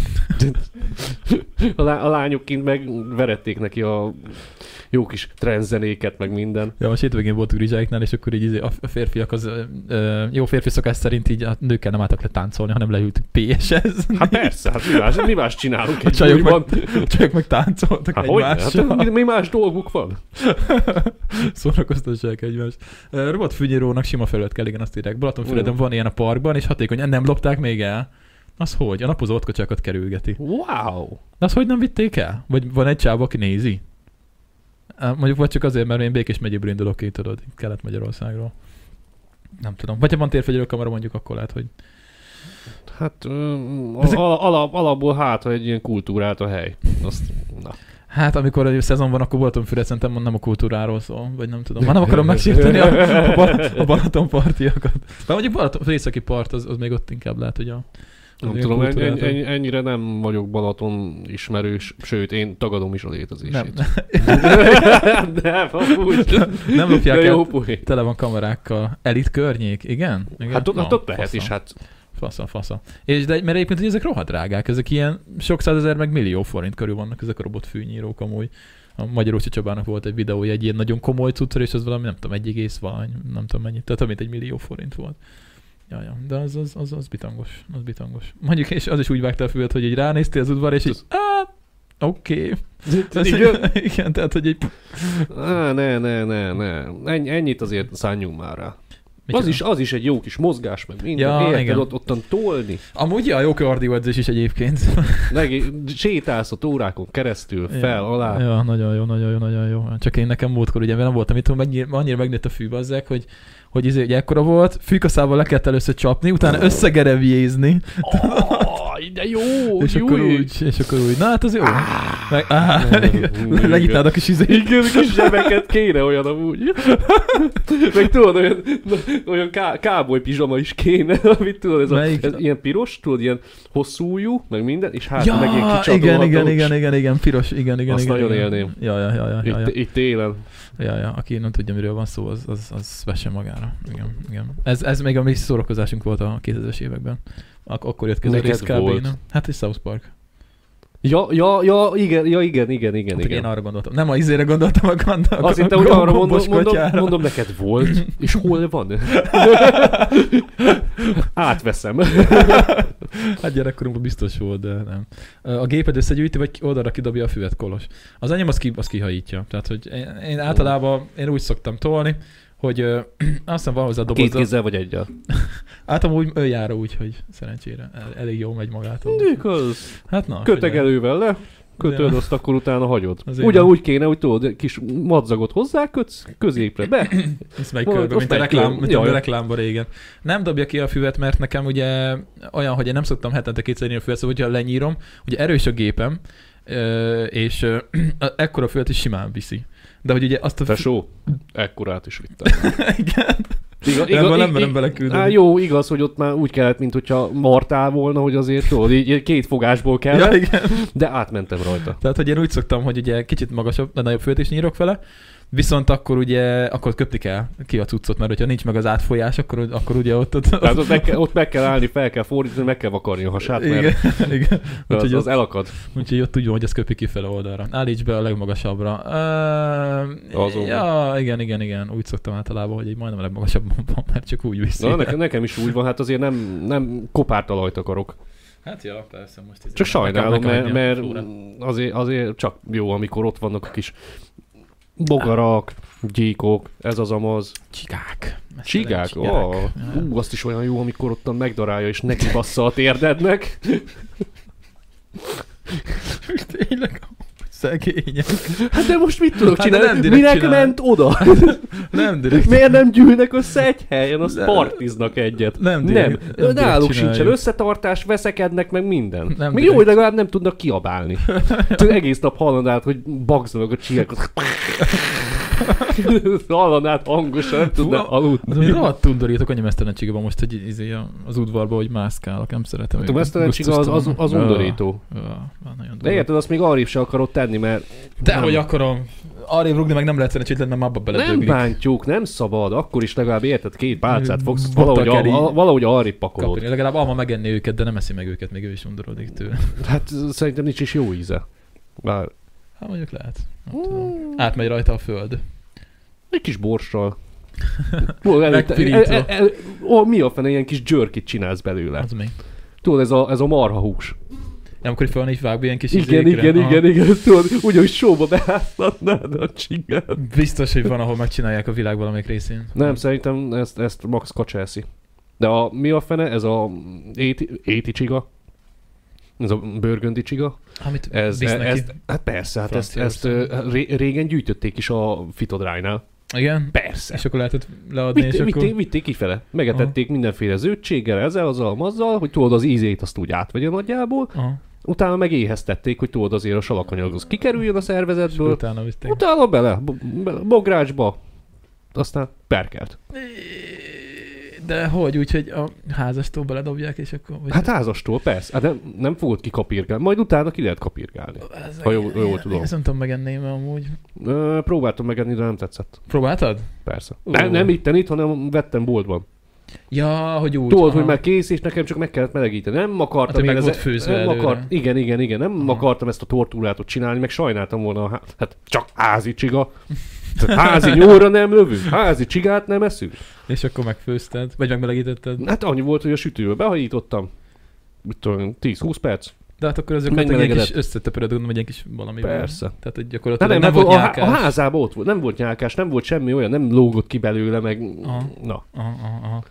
A, lá- a lányok kint meg verették neki a jó kis trendzenéket, meg minden. Ja, most hétvégén voltunk Rizsáiknál, és akkor így izé a a férfiak az, ö, ö, jó férfi szokás szerint így a nőkkel nem álltak le táncolni, hanem leült PS-hez. Hát persze, hát mi más, mi más csinálunk A egy csajok újban? meg, csak meg táncoltak Hát hogy? Hát, egymással. mi, mi, más dolguk van? Szórakoztassák egymást. Ö, Robot fűnyírónak sima felület kell, igen, azt írják. Balatonfüreden Ú. van ilyen a parkban, és hatékony, nem lopták még el. Az hogy? A napozó ott kocsákat kerülgeti. Wow! De az hogy nem vitték el? Vagy van egy csáv, aki nézi? Á, Mondjuk vagy csak azért, mert én Békés megyéből indulok ki, tudod, Kelet-Magyarországról. Nem tudom. Vagy ha van térfegyelő kamera, mondjuk akkor lehet, hogy... Hát um, Ezek- alap, alapból hát, ha egy ilyen kultúrát a hely. Azt, na. Hát, amikor a szezon van, akkor Balatonfüred szerintem nem a kultúráról szól, vagy nem tudom. Már nem akarom megsérteni a, a, Bal- a Balatonpartiakat. De mondjuk Balaton, az északi part, az, az még ott inkább lehet, hogy a... az Nem ilyen tudom, en, en, kultúrától. en, ennyire nem vagyok Balaton ismerős, sőt, én tagadom is a létezését. nem, Nem, nem, amúgy. nem lopják De jó el. poén. Tele van kamerákkal. Elit környék, igen? igen? Hát ott, Na, ott, ott lehet fasza. is, hát Fasza, fasza. És de, mert egyébként hogy ezek rohadt drágák, ezek ilyen sok százezer meg millió forint körül vannak ezek a robotfűnyírók amúgy. A Magyar Ócsi Csabának volt egy videója egy ilyen nagyon komoly cuccra, és az valami nem tudom, egy egész valány, nem tudom mennyit, tehát amit egy millió forint volt. Ja, ja, de az, az, az, az bitangos, az bitangos. Mondjuk, és az is úgy vágta a füvet, hogy így ránéztél az udvar, és így, "Á, oké. Tehát, így hogy- Igen, tehát, hogy egy... Á, ne, ne, ne, ne. Ennyi, ennyit azért szálljunk már rá. Micsoda? Az is, az is egy jó kis mozgás, meg minden. Ja, Ja, Érted, igen. ott, ottan tolni, Amúgy, ja, jó kardioedzés is egyébként. meg sétálsz ott órákon keresztül, Ja. fel, alá. Ja, nagyon jó, nagyon jó, nagyon jó. Csak én nekem múltkor ugye mert nem voltam itt, hogy mennyire, annyira megnőtt a fűbazzek, hogy hogy izé, ugye ekkora volt, fűkaszával le kellett először csapni, utána összegereviézni, Aj, de jó, és jó. akkor úgy, és akkor úgy, na hát az jó. Meg, áh, igen. igen. legitálod a kis izé. Igen, kis zsebeket kéne olyan amúgy. Meg tudod, olyan, olyan ká, káboly pizsama is kéne, amit tudod, ez, a, Melyik? ez ilyen piros, tudod, ilyen hosszú ujjú, meg minden, és hát Ja, meg ilyen kicsatolható. igen, igen, igen, igen, igen, piros, igen, igen. Azt igen, nagyon igen. élném. Ja, ja, ja, ja, ja, ja. Itt, itt télen. Ja, ja, aki nem tudja, miről van szó, az, az, az vesse magára. Igen, igen. Ez, ez még a mi szórakozásunk volt a 2000-es években. Ak- akkor jött közel Neked rész kb. volt. nem? Hát és South Park. Ja, ja, ja, igen, ja, igen, igen, igen, Hát, hogy igen. én arra gondoltam. Nem a izére gondoltam a gond. Azt hittem, hogy arra mondom, mondom, mondom, neked volt, és hol van? Átveszem. Hát gyerekkorunkban biztos volt, de nem. A géped összegyűjti, vagy oldalra kidobja a füvet kolos. Az enyém az, ki, az kihajítja. Tehát, hogy én, én általában én úgy szoktam tolni, hogy ö, aztán van hozzá Két dobozza. kézzel vagy egyel. Általában úgy ő jár úgy, hogy szerencsére el, elég jól megy magától. Mondjuk az. Hát na. figyelj. Kötegelővel le, kötöd, Ja. azt akkor utána hagyod. Az Ugyanúgy kéne, hogy tudod, kis madzagot hozzákötsz, középre be. Ez megy Majd körbe, ott mint, a megy reklám, körbe. mint a Jaj. reklámban régen. Nem dobja ki a füvet, mert nekem ugye olyan, hogy én nem szoktam hetente kétszer nyírni a füvet, szóval hogyha lenyírom, ugye erős a gépem, ö, és ö, e- ekkora füvet is simán viszi. De hogy ugye azt a... Tesó, ekkorát is vittem. Igen. Iga, Nem, nem merem beleküldeni. Á, jó, igaz, hogy ott már úgy kellett, mint hogyha martál volna, hogy azért tudod, így két fogásból Ja, kell, igen. de átmentem rajta. Tehát, hogy én úgy szoktam, hogy ugye kicsit magasabb, de nagyobb füvet is nyírok vele, viszont akkor ugye, akkor köpni kell ki a cuccot, mert hogyha nincs meg az átfolyás, akkor, akkor ugye ott... ott, Tehát ott meg, kell, ott meg kell állni, fel kell fordítani, meg kell vakarni a hasát, mert igen, igen. az, Úgyhogy az elakad. Úgyhogy ott úgy van, hogy ez köpi kifele oldalra. Állíts be a legmagasabbra. Uh, Azon. ja, igen, igen, igen. Úgy szoktam általában, hogy egy majdnem a legmagasabban van, mert csak úgy viszi. Na, nekem, nekem is úgy van, hát azért nem, nem kopárt alajt akarok. Hát ja, persze most ez Csak sajnálom, nekem- mert, nekem mert adja a fóra. azért, azért csak jó, amikor ott vannak a kis bogarak, gyíkok, ez az amaz. Csigák. Mesztelen Csigák? csigák. Ó, Ja. ú, azt is olyan jó, amikor ottan megdarálja és neki bassza a térdednek. Tényleg, szegények. Hát de most mit tudok Hát de csinálni? nem direkt Minek csinál. ment oda? Nem direkt. Miért nem gyűlnek össze egy helyen? Azt De- partiznak egyet. Nem Nem, direkt. nem direkt náluk csináljuk. sincsen összetartás, veszekednek, meg minden. Nem Nem Még direkt. jó, hogy legalább nem tudnak kiabálni. Tudod, egész nap hallanod át, hogy bagzanak a csillák. hallanod át hát, hangosan, nem Fú, tudnak a- aludni. Az olyan rohadt tundorítok, annyi mesztelensége van most, hogy izé a- az udvarba, hogy mászkálok, nem szeretem. Tudom, ezt a az, az, az Ja. undorító. Ja, már nagyon De durva. érted, azt még arrébb se akarod tenni, mert De Nem. hogy akarom. Arrébb rugni meg nem lehet szerencsétlen, mert abba nem beledöglik. bántjuk, nem szabad. Akkor is legalább érted, két pálcát fogsz, Bota valahogy, keri. a, a, valahogy arrébb pakolod. Kapni. Legalább alma megenni őket, de nem eszi meg őket, még ő is undorodik tőle. Hát szerintem nincs is jó íze. Bár Hát mondjuk lehet. Nem tudom. Átmegy rajta a föld. Egy kis borssal. Ó, előtte- Megpirítva. e- e- e- ó, mi a fene, ilyen kis jerkit csinálsz belőle. Az mi? Tudod, ez a, ez a marha hús. Nem, amikor fel így vágva ilyen kis Igen, izékre. igen, Aha. igen, igen, tudod, ugyanúgy sóba beháztatnád a csigát. Biztos, hogy van, ahol megcsinálják a világ valamelyik részén. Nem, szerintem ezt, ezt Max kacsa eszi. De a, mi a fene? Ez a éti, éti csiga? Ez a bőrgöndi csiga? Amit Ez, visz neki. ezt, hát persze, hát ezt, ezt ö, ré- régen gyűjtötték is a fitodránynál. Igen? Persze. És akkor lehetett leadni, és Vitt, akkor... vitték, vitték kifele. Megetették mindenféle zöldséggel, ezzel, azzal, mazzal, hogy tudod az ízét azt úgy átvegye nagyjából. Aha, Utána meg éheztették, hogy tudod azért a salakanyag az kikerüljön a és szervezetből. utána vitték. Utána bele, bo- bele, bográcsba. Aztán perkelt. De hogy? Úgyhogy a házastól beledobják, és akkor... Vagy Hát házastól, persze. Hát nem, nem fogod kikapírgálni. Majd utána ki lehet kapírgálni. Ez ha jól- jól tudom. Ezt nem tudom megenném amúgy. Ö, próbáltam megenni, de nem tetszett. Próbáltad? Persze. Ú. Nem, nem itten itt, hanem vettem boltban. Ja, hogy úgy. Tudod, hogy aha. már kész, és nekem csak meg kellett melegíteni. Nem akartam Hát, hogy meg én volt ezzel- főzve nem előre. akart, Igen, igen, igen. Nem Aha. akartam ezt a tortúrátot csinálni, meg sajnáltam volna. a há- Hát csak házi csiga. Tehát Házi nyúlra nem lövünk, házi csigát nem eszünk. És akkor megfőzted, vagy megmelegítetted. Hát annyi volt, hogy a sütőbe behajítottam. Mit tudom, én, 10-20 perc. De hát akkor ezek egy ilyen kis Megmelegedett. összetöpöröd, gondolom, egy ilyen kis valami. Persze. Tehát, hogy Nem, gyakorlatilag nem, Hát nem, nem, volt a, há- a nyálkás. házában ott volt, nem volt nyálkás, nem volt semmi olyan, nem lógott ki belőle, meg Aha. na, Aha, aha, aha.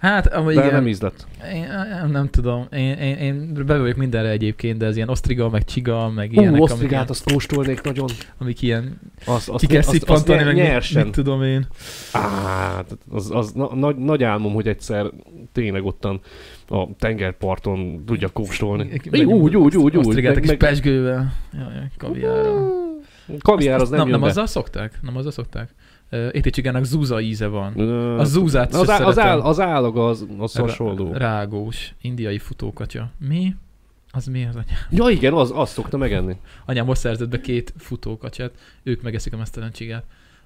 Hát, amúgy de igen. igen, nem én, ízlett. én, nem tudom, én, én, én be vagyok mindenre egyébként, de ez ilyen osztriga, meg csiga, meg ilyenek, Ú, amik, ilyen, osztrigát azt kóstolnék nagyon. amik ilyen, Azt, azt, ki kell azt, azt szippantani, meg mit, nyersen. mit tudom én. Á, tehát az, az na, nagy, nagy álmom, hogy egyszer tényleg ottan a tengerparton tudja kóstolni. Meg- Így, Úgy, úgy, úgy, úgy. Osztrigát a Meg, kis meg, pesgővel. Jaj, jaj, kaviárral. kaviár az Azt nem, nem, nem jön azzal szokták? Nem azzal szokták? Ö, Éti csigának zúza íze van. be. Ö, A zúzát az, se á- az, szeretem. áll, az állag az, az hasonló. Ra- Rágós, indiai futókatya. Mi? Az mi az anyám? Ja igen, az, azt szokta megenni. Anyám most szerzett be két futókatyát, ők megeszik a mesztelencsigát.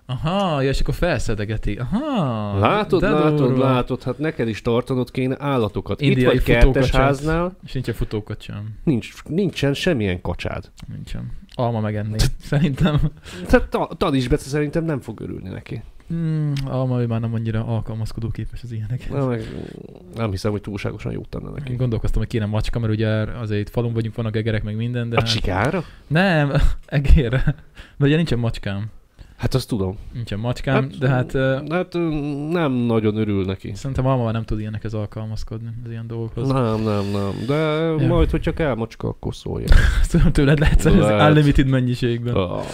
Aha, ja, és akkor felszedegeti. Aha. Látod, de látod, durva. látod, hát neked is tartanod kéne állatokat. Indiai Itt Indiai vagy futókacsát. kertesháznál, És nincs egy futókatyám. nincs, nincsen semmilyen kacsád. Nincsen. Alma megenné. Szerintem. Tehát ta, Tadis Bece szerintem nem fog örülni neki. Mm, alma ő már nem annyira alkalmazkodóképes az ilyenekhez. Nem, meg, nem hiszem, hogy túlságosan jót tenne neki. Én gondolkoztam, hogy kéne macska, mert ugye er- azért itt falun vagyunk, vannak egerek, meg minden, de... A hát- csigára? Nem, egérre. De ugye nincsen macskám. Hát azt tudom. Nincsen macskám, hát, de hát... ö, Hát ö, nem nagyon örül neki. Szerintem Alma már nem tud ilyenekhez alkalmazkodni, az ilyen dolgokhoz. Na. Nem, nem, nem. De Ja. ja. majd, hogyha kell macska, akkor szólja. Tudom, tőled lehet szerezni Lehet. unlimited mennyiségben. A. Ah,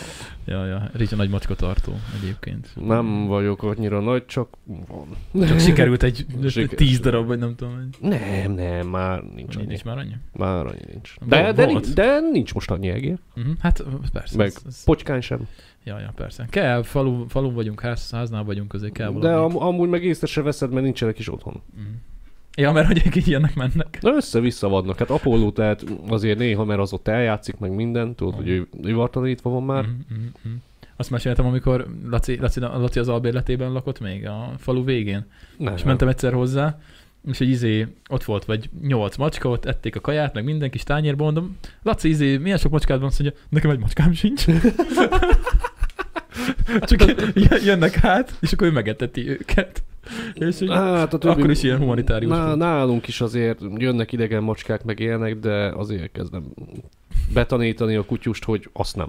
Ja, ja, Ricsi nagy macska tartó egyébként. nem vagyok annyira nagy, csak van. Csak sikerült egy Siker- tíz darab, vagy nem tudom. Hogy... Nem, nem, már nincs Nincs, annyi. nincs már annyi? Már annyi nincs. Volt- De, de, volt. nincs, de nincs most annyi egér. Uh-huh. Hát ö, persze. Meg ez- ez- Pocskány sem. Ja, ja, persze. Kell, falu, falun vagyunk, ház, háznál vagyunk, azért kell valami. De am- amúgy meg észre se veszed, mert nincsenek is otthon. Mhm. Ja, mert hogy ők így jönnek, mennek. Na össze-vissza vannak. Hát Apollo, tehát azért néha, mert az ott eljátszik meg mindent, tudod, hogy ő ivartalanítva van már. Mhm, mhm, mhm. Azt meséltem, amikor Laci, Laci, Laci az albérletében lakott még, a falu végén. Nem. És mentem egyszer hozzá, és egy izé, ott volt vagy nyolc macska, ott ették a kaját, meg minden kis tányérban, mondom, Laci, izé, milyen sok macskád van? Azt mondja, nekem egy macskám sincs. Csak jö- jönnek hát, és akkor ő megeteti őket. És így, Hát a többi... akkor is ilyen humanitárius Na, volt. nálunk is azért jönnek idegen macskák, meg élnek, de azért kezdem betanítani a kutyust, hogy azt nem.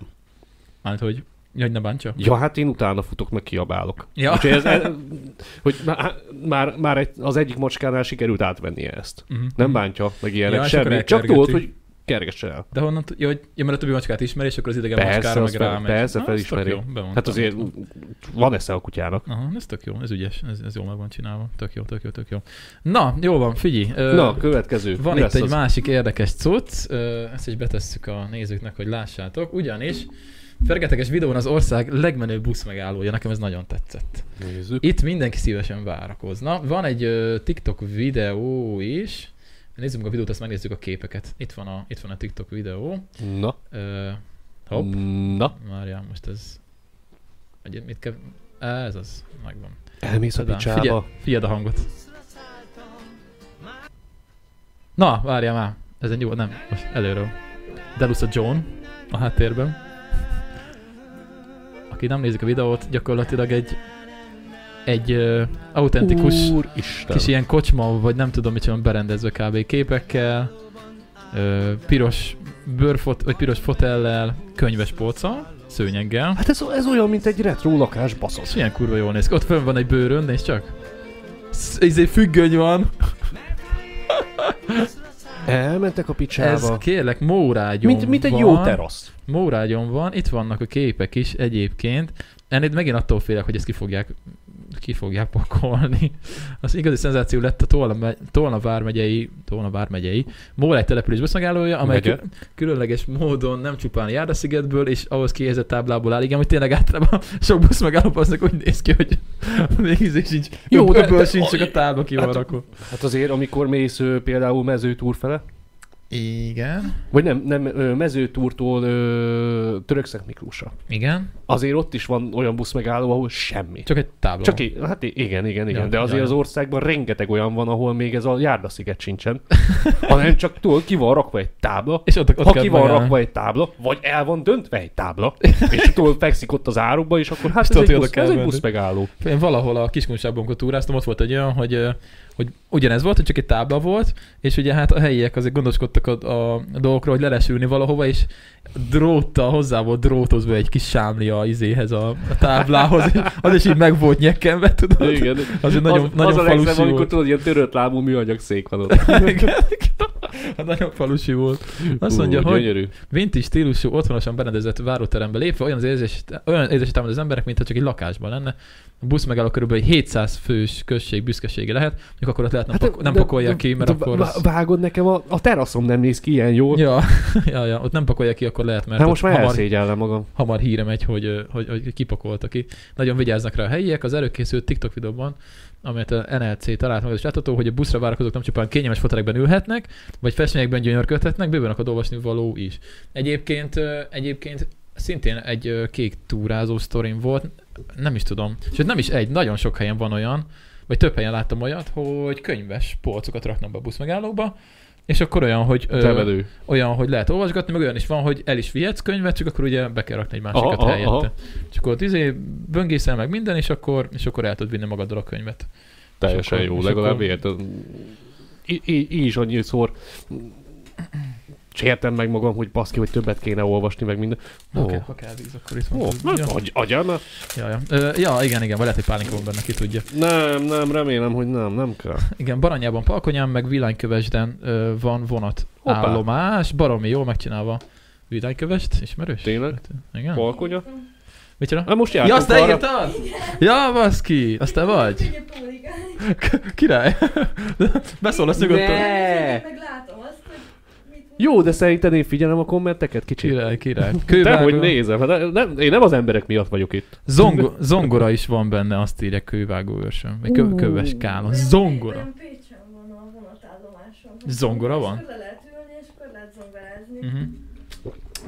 hát, hogy, hogy ne bántsa. Ja, hát én utána futok, meg kiabálok. Ja. Úgyhogy ez, ez, hogy má- hát már, már egy, az egyik macskánál sikerült átvennie ezt. Mhm. Nem bántja, meg ilyenek, Ja, ja, és akkor semmi. Csak elkergeti. tudod, hogy kergesse el. De honnan, t- ja, hogy, ja, mert a többi macskát ismeri, és akkor az idegen Persze, macskára az meg fel- rámegy. persze, Na, ez tök felismeri. jó, bemondtam. Hát azért van esze a kutyának. Aha, ez tök jó, ez ügyes, ez, ez jól meg van csinálva. Tök jó, tök jó, tök jó. Na, jó van, figyelj. ö, Na, következő. Van Mi itt lesz egy az? másik érdekes cucc, ö, ezt is betesszük a nézőknek, hogy lássátok, ugyanis Fergeteges videón az ország legmenőbb busz megállója, nekem ez nagyon tetszett. Nézzük. Itt mindenki szívesen várakozna. Van egy ö, TikTok videó is, nézzük meg a videót, azt megnézzük a képeket. Itt van a, itt van a TikTok videó. Na, Ö, hopp. na. Várjál, most ez... Egy, mit kell... Á, Ez az, megvan. Elmész a Tadám. picsába. Figyeld a hangot. Na, várjál már. Ez egy jó, nem, most előről. Delusa John a háttérben. akik nem nézik a videót, gyakorlatilag egy egy ö, autentikus Úristen. kis ilyen kocsma, vagy nem tudom, mit van berendezve kb. képekkel, ö, piros bőrfot, vagy piros fotellel, könyves polccal, szőnyeggel. Hát ez, ez olyan, mint egy retro lakás És baszott. milyen kurva jól néz ki. Ott fönn van egy bőrön, nézd csak. Sz- Izé függöny van. Elmentek a Ez picsába. kérlek, mórágyon Mint, mint egy van. jó terasz. Mórágyon van, itt vannak a képek is egyébként. Ennél megint attól félek, hogy ezt ki fogják, ki fogják pakolni. Az igazi szenzáció lett a Tolna, me- Tolna vármegyei, Tolna vármegyei, Mórágy település buszmegállója, amely Megye. kül- különleges módon nem csupán jár a szigetből, és ahhoz kihelyezett táblából áll. Igen, hogy tényleg általában sok buszmegállóban aznak úgy néz ki, hogy még ízé sincs. Jó, Jó, de- de, ebből de- sincs, csak a tábla ki van hát- rakva. Hát azért, amikor mész ö, például mezőtúr fele, Igen. vagy nem, nem ö, mezőtúrtól ö, Törökszent Miklósra. Igen. Azért ott is van olyan busz megálló, ahol semmi. Csak egy tábla. Csak i- hát i- igen, igen, igen, Ja, de azért ja, ja. az országban rengeteg olyan van, ahol még ez a járdasziget sincsen, hanem csak túl ki van rakva egy tábla, és ott, ott ha kell ki van megállni. rakva egy tábla, vagy el van döntve egy tábla, és túl fekszik ott az árukba, és akkor hát És ez tudod, egy, hogy oda busz, kell ez egy menni. busz megálló. Én valahol a kiskunságban, amikor túráztam, ott volt egy olyan, hogy, ö, hogy ugyanez volt, hogy csak egy tábla volt, és ugye hát a helyiek azért gondoskodtak a, a dolgokról, hogy lelesülni valahova, és dróttal hozzá volt drótozva egy kis sámlia a izéhez a, a táblához, és az is így meg volt nyekkenve, tudod? Igen. Azért nagyon, az, nagyon az a falusi legszebb, amikor volt. tudod, ilyen törött lábú műanyag szék van ott. Igen. Hát nagyon falusi volt. Azt Ú, mondja, hogy gyönyörű. vintage stílusú, otthonosan berendezett váróterembe lépve olyan az érzés, olyan érzés támad az emberek, mintha csak egy lakásban lenne. A busz megálló körülbelül 700 fős község büszkesége lehet, még akkor ott lehet nem, hát, pak- nem de- pakolják de- ki, mert de akkor... vá- Az... Vágod nekem, a, a teraszom nem néz ki ilyen jól. Ja, ja, ja, ott nem pakolják ki, akkor lehet, mert Hát ott most már hamar, elszégyellem magam. hamar híre megy, hogy, ö, hogy, hogy kipakolta ki. Nagyon vigyáznak rá a helyiek. Az előkészült TikTok videóban, amelyet a NLC talált meg, és látható, hogy a buszra várakozók nem csupán kényelmes fotelekben ülhetnek, vagy festményekben gyönyörködhetnek, bőven akad olvasni való is. Egyébként, ö, egyébként szintén egy ö, kék túrázó sztorim volt, nem is tudom, sőt nem is egy, nagyon sok helyen van olyan, vagy több helyen láttam olyat, hogy könyves polcokat raknak be a buszmegállókba, és akkor olyan, hogy ö, Tevedő. olyan, hogy lehet olvasgatni, meg olyan is van, hogy el is vihetsz könyvet, csak akkor ugye be kell rakni egy másikat Aha, aha, aha, helyette. aha. Aha. És akkor ott izé böngészel meg minden, és akkor, és akkor el tudod vinni magaddal a könyvet. Teljesen És akkor- jó, és legalább akkor- érted. Í- í- Így is annyiszor sértem meg magam, hogy baszki, hogy többet kéne olvasni, meg minden. Ó, Oké, ha kell víz, akkor itt van. ó, tudja. na, agy- agyam, na. ja, ja. Ö, ja, igen, igen, vagy lehet, hogy pálinka van benne, ki tudja. Nem, nem, remélem, hogy nem, nem kell. Igen, Baranyában, Palkonyán, meg Vilánykövesden ö, van vonat Hoppá. állomás, baromi jól megcsinálva. Vilánykövest, ismerős? Tényleg? Igen. Balkonya? Mit csinál? Hát most Ja, jártunk azt te írtad? Ja, baszki, azt te vagy. Király. Beszólasz nyugodtan. Ne! Meglátom azt, hogy mit mond. Jó, de szerinted én figyelem a kommenteket kicsit. Király, király. De hogy Kővágó. nézem, hát nem, én nem az emberek miatt vagyok itt. Zongo- zongora is van benne, azt írja kővágó őrsön. Vagy kö- köves kálon. Olyan- Zongora. olyan Pécsen van a vonatállomáson. Zongora van? És akkor le lehet ülni, és akkor lehet zongorázni. Mhm.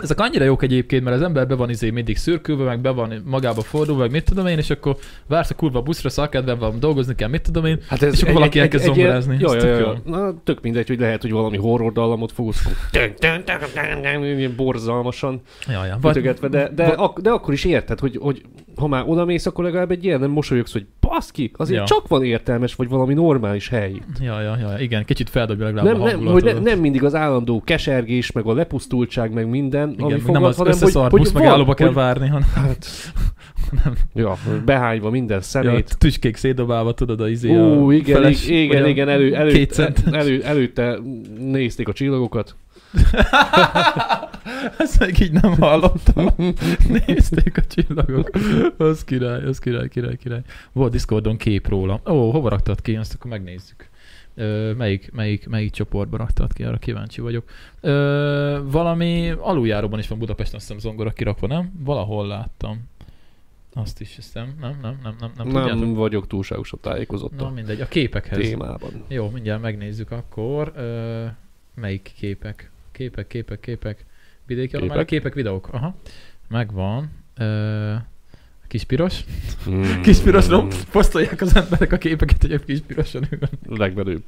Ezek annyira jók egyébként, mert az ember be van izé mindig szürkülve, meg be van magába fordulva, meg mit tudom én, és akkor vársz a kurva buszra, szakadva van, dolgozni kell, mit tudom én. Hát ez És akkor valaki elkezd ilyen- zongorázni, Jaj, ez jaj, tök jaj. Na, tök mindegy, hogy lehet, hogy valami horror dallamot fogsz. Tön, tön, tön, tön, tön, ilyen Borzalmasan Ja, ja. ütögetve, de, de, ak- de akkor is érted, hogy, hogy ha már odamész, akkor legalább egy ilyen nem mosolyogsz, hogy baszki, azért Ja. csak van értelmes, vagy valami normális hely. ja, ja, ja, igen, kicsit feldobja legalább Nem, a nem, hogy ne, hangulatot. nem mindig az állandó kesergés, meg a lepusztultság, meg minden, Igen, ami igen, fogad, nem az hanem összeszart hogy, busz hogy van, megállóba kell hogy, várni, hanem hát, Ja, behányva minden ja, szemét. tüskék szétdobálva, tudod, a izé a Ó, igen, feles, igen, vagy a igen, elő, elő, két cent. elő, előtte nézték a csillagokat. Ezt meg így nem hallottam. Nézték a csillagok. Az király, az király, király, király. Volt Discordon kép róla. Ó, hova raktad ki? Azt akkor megnézzük. Ö, melyik, melyik, melyik csoportba raktad ki? Arra kíváncsi vagyok. Ö, valami aluljáróban is van Budapesten, azt hiszem zongora kirakva, nem? Valahol láttam. Azt is hiszem. Nem, nem, nem, nem, nem, Nem, tudjátok? vagyok túlságosan tájékozott Na a mindegy, a képekhez. témában. Jó, mindjárt megnézzük akkor. Ö, melyik képek? Képek, képek, képek. Vidéki Képek? képek? képek, videók. Aha. Megvan. Ö, a kispiros. Hmm. Mm, Kispirosról posztolják az emberek a képeket, hogy a kispiroson ül. Legmenőbb.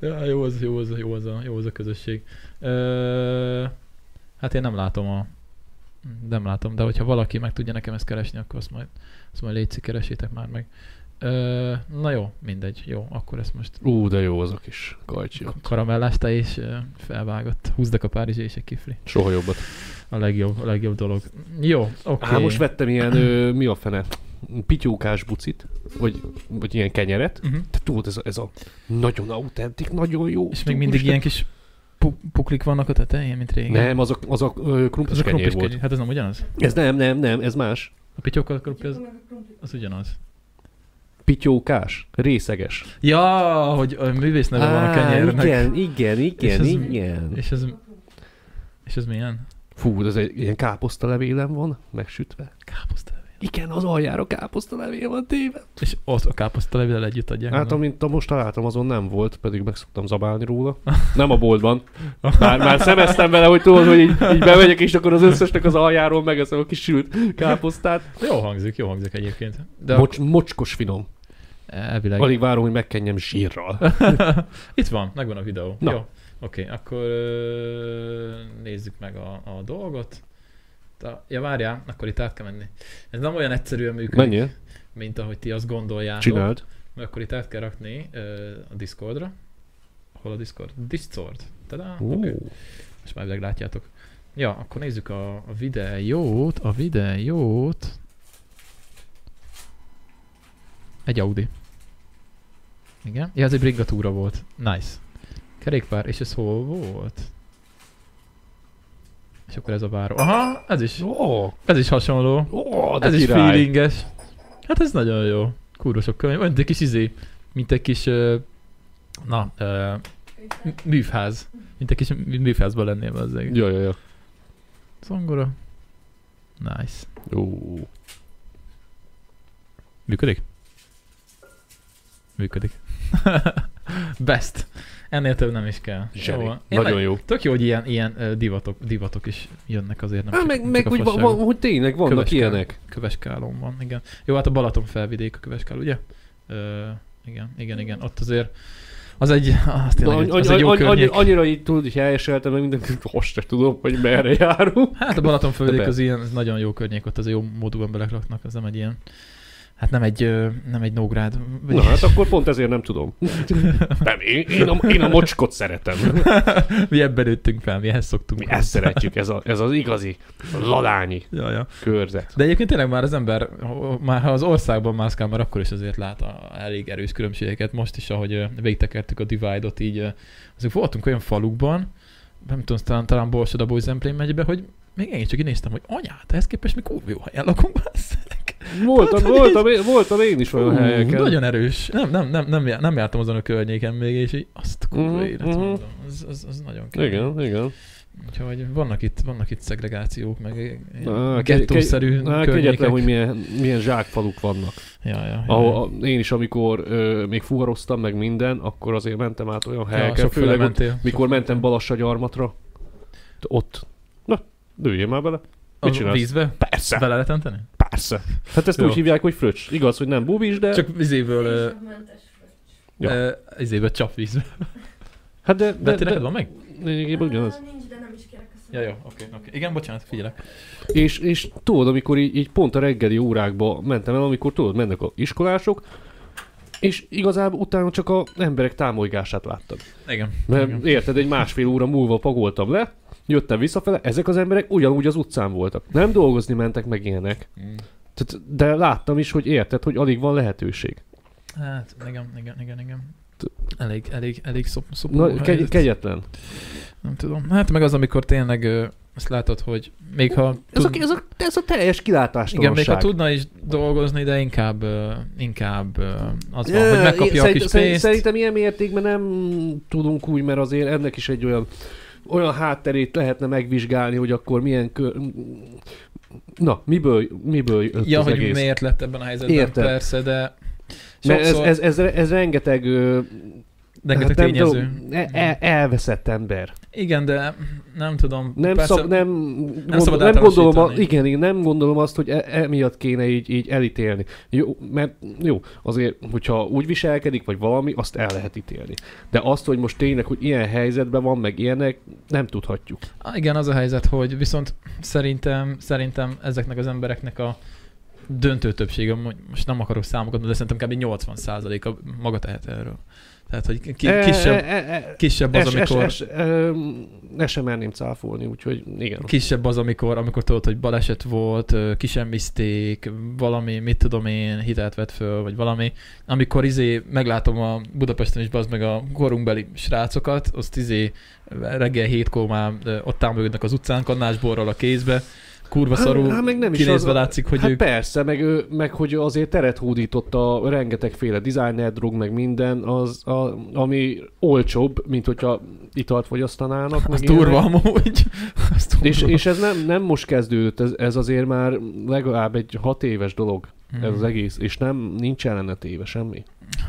Ja, jó az, jó az, jó az, a, jó az a közösség. Ö, hát én nem látom a Nem látom, de hogyha valaki meg tudja nekem ezt keresni, akkor azt majd, azt majd légy szí- keresétek már meg. Ö, na jó, mindegy, jó, akkor ezt most Ú, de jó az a kis kajcsi. ott. karamellás te és ö, felvágott. Húzdak a Párizsi és egy kifli. Soha jobbat. A legjobb, a legjobb dolog. Jó, oké. Okay. Okay. Á, most vettem ilyen, ö, mi a fene? Pityókás bucit, vagy, vagy ilyen kenyeret. uh-huh. Te tudod, ez a, ez a nagyon autentik, nagyon jó. És még mindig ilyen kis pu- puklik vannak a tetején, mint régen. Nem, az a, az a ö, krumplis, az a kenyér krumplis volt. kenyér. Hát ez nem ugyanaz? Ez nem, nem, nem, ez más. A pityókkal krumpli az, Csak meg a krumpli. az ugyanaz. Pityókás, részeges. Ja, hogy a művész neve van a kenyérnek. igen, igen, igen, ez- igen. És ez, és ez milyen? Fú, de ez egy ilyen káposztalevélem van, megsütve. Káposztalevél. Igen, az aljára káposztalevél van téve. És ott a káposztalevél együtt adják. Hát, gondolom. amint a most találtam, azon nem volt, pedig meg szoktam zabálni róla. Nem a boltban. Már, már szemeztem vele, hogy tudod, hogy így, így bemegyek, és akkor az összesnek az aljáról megeszem a kis sült káposztát. Jó hangzik, jó hangzik egyébként. De De Bocs. Mocs, mocskos finom. elvileg. Alig várom, hogy megkenjem zsírral. Itt van, megvan a videó. Na. Jó. Oké, okay, akkor ö, nézzük meg a, a dolgot. Ta- Ja, várjál, akkor itt át kell menni. Ez nem olyan egyszerűen működik, Menjél, mint ahogy ti azt gondoljátok. csináld. Mert akkor itt át kell rakni ö, a Discordra. Hol a Discord? Discord. Tadá, Ú, oké. Okay. Most már elvileg látjátok. Ja, akkor nézzük a, a videót, a videót. Egy Audi. Igen. Ja, ez egy bringatúra volt. Nice. Kerékpár, és ez hol volt? És akkor ez a váró. Aha, ez is, Ó, ez is hasonló. ó, de Ez is király. feelinges. Hát ez nagyon jó. Kurva sok könyv. Olyan, mint egy kis izé, mint egy kis, ö, na, ö, m- műfház. Mint egy kis mű- műfházban lennél az egész. Ja, ja, ja. Zongora. Nice. Ó. Működik? Működik. Best. Ennél több nem is kell. Zseni. Jó. Én Nagyon meg- jó. Tök jó, hogy ilyen, ilyen ö, divatok, divatok is jönnek azért. Nem Hát csak- meg, nem meg csak a hogy, va- fasságok. va- hogy tényleg vannak Köveskáló. ilyenek. Köveskálón van, igen. Jó, hát a Balaton felvidék a Köveskál, ugye? Ö, igen, igen, igen. Ott azért az egy, az De tényleg, egy- any- az egy jó any- any- környék. Annyira így tudod, és eljeseltem, meg minden, most se tudom, hogy merre járunk. Hát a Balaton De felvidék be. az ilyen, ez nagyon jó környék, ott az jó módú emberek laknak, az nem egy ilyen, hát nem egy, ö, nem egy Nógrád. vagy- Na hát akkor pont ezért nem tudom. Nem, én, én, a, én a mocskot szeretem. mi ebben nőttünk fel, mi ehhez szoktunk. Mi ezt szeretjük, ez, a, ez az igazi ladányi Ja, ja. körzet. De egyébként tényleg már az ember, ha- már ha az országban mászkál, már akkor is azért lát a, elég erős különbségeket. Most is, ahogy ö, végigtekertük a Divide-ot, így ö, azért voltunk olyan falukban, nem tudom, talán, talán Borsod a Boyzemplén megybe, hogy még én csak így néztem, hogy anyát, ehhez képest mi kurva jó helyen lakunk, basszek. Voltam, Tudod, voltam, én, voltam én is olyan Ú, helyeken. Nagyon erős. Nem, nem, nem, nem, jár- nem jártam azon a környéken még, és így azt kurva Mhm, uh-huh, élet, mhm. mondom. Az, az, az nagyon kemény. Igen, igen. Úgyhogy vannak itt, vannak itt szegregációk, meg Á, ilyen kegy- gettószerű kegy- á, környékek. Kegyetlen, hogy milyen, milyen zsákfaluk vannak. Ja, ja, ja. Ahol a, én is, amikor ö, még fuvaroztam, meg minden, akkor azért mentem át olyan ja, helyekre, sok főleg ott, mentél. mikor mentem Balassagyarmatra, ott. Na, lőjél már bele. a mit csinálsz? vízbe? Persze, Bele lehet önteni? persze. Hát ezt Jó. úgy hívják, hogy fröccs. Igaz, hogy nem bubis, de... Csak vizéből, ö, Mentes fröccs. Ja. ö, izébe csapvízbe. hát de, De, de, de, de, neked van meg? lényegében ugyanaz. Ö, Nincs, de nem is kérek a Ja, jó, oké, oké. Igen, bocsánat, figyelek. És, és tudod, amikor így, így pont a reggeli órákba mentem el, amikor tudod, mennek a iskolások, és igazából utána csak a emberek támolygását láttam. Igen. Mert igen. érted, egy másfél óra múlva pagoltam le, jöttem visszafele, ezek az emberek ugyanúgy az utcán voltak. Nem dolgozni mentek meg ilyenek. Mm. Tehát, de láttam is, hogy érted, hogy alig van lehetőség. Hát, igen, igen, igen, igen. Elég, elég, elég szop, szop, Na, kegy- kegyetlen. Nem tudom. Hát meg az, amikor tényleg ö, azt látod, hogy még ha... Ez a, tud- ez a, ez a teljes igen, még ha kilátástalanság. tudna is dolgozni, de inkább, ö, inkább ö, az van, hogy megkapja a szerint- kis szerint- pénzt. Szerintem ilyen mértékben nem tudunk úgy, mert azért ennek is egy olyan, olyan hátterét lehetne megvizsgálni, hogy akkor milyen kör... Na, miből, miből jött Ja, az hogy egész? miért lett ebben a helyzetben, Érted. persze, de Mert ez, sokszor- ez, ez, ez, rengeteg ö, Rengeteg nem tényező. tudom, e- e- elveszett ember. Igen, de nem tudom. Nem, persze- szab, nem, gondol, szabad nem gondolom, a, általánosítani. igen, igen, nem gondolom azt, hogy e- emiatt kéne így, így elítélni. Jó, mert jó, azért, hogyha úgy viselkedik, vagy valami, azt el lehet ítélni. De azt, hogy most tényleg, hogy ilyen helyzetben van, meg ilyenek, nem tudhatjuk. Á, Ah, Igen, az a helyzet, hogy viszont szerintem, szerintem ezeknek az embereknek a döntő többsége, mo- most nem akarok számokat, de szerintem kb. 80%-a maga tehet erről. Tehát, hogy ki, E- kisebb, e- e- kisebb az, es- es- amikor... es- em, Ne sem merném cáfolni, úgyhogy igen. Kisebb az, amikor, amikor tudod, hogy baleset volt, ö, kisemmizték, valami, mit tudom én, hitelt vett föl, vagy valami. Amikor izé meglátom a Budapesten is, bazd meg a korunkbeli srácokat, azt izé reggel hétkor már ö, ott támognak az utcán, kannásborral a kézbe, kurva szarú, hát meg nem is kinézve az- látszik, hogy hát ők... persze, meg, ő, meg hogy azért teret hódított a rengetegféle designer, drog, meg minden, az, a, ami olcsóbb, mint hogyha italt fogyasztanának. meg Az ilyenek. durva amúgy. Az durva. hát, És, és ez nem, nem most kezdődött, ez, ez azért már legalább egy hat éves dolog, Hmm. ez az egész, és nem, nincs ellene téve semmi.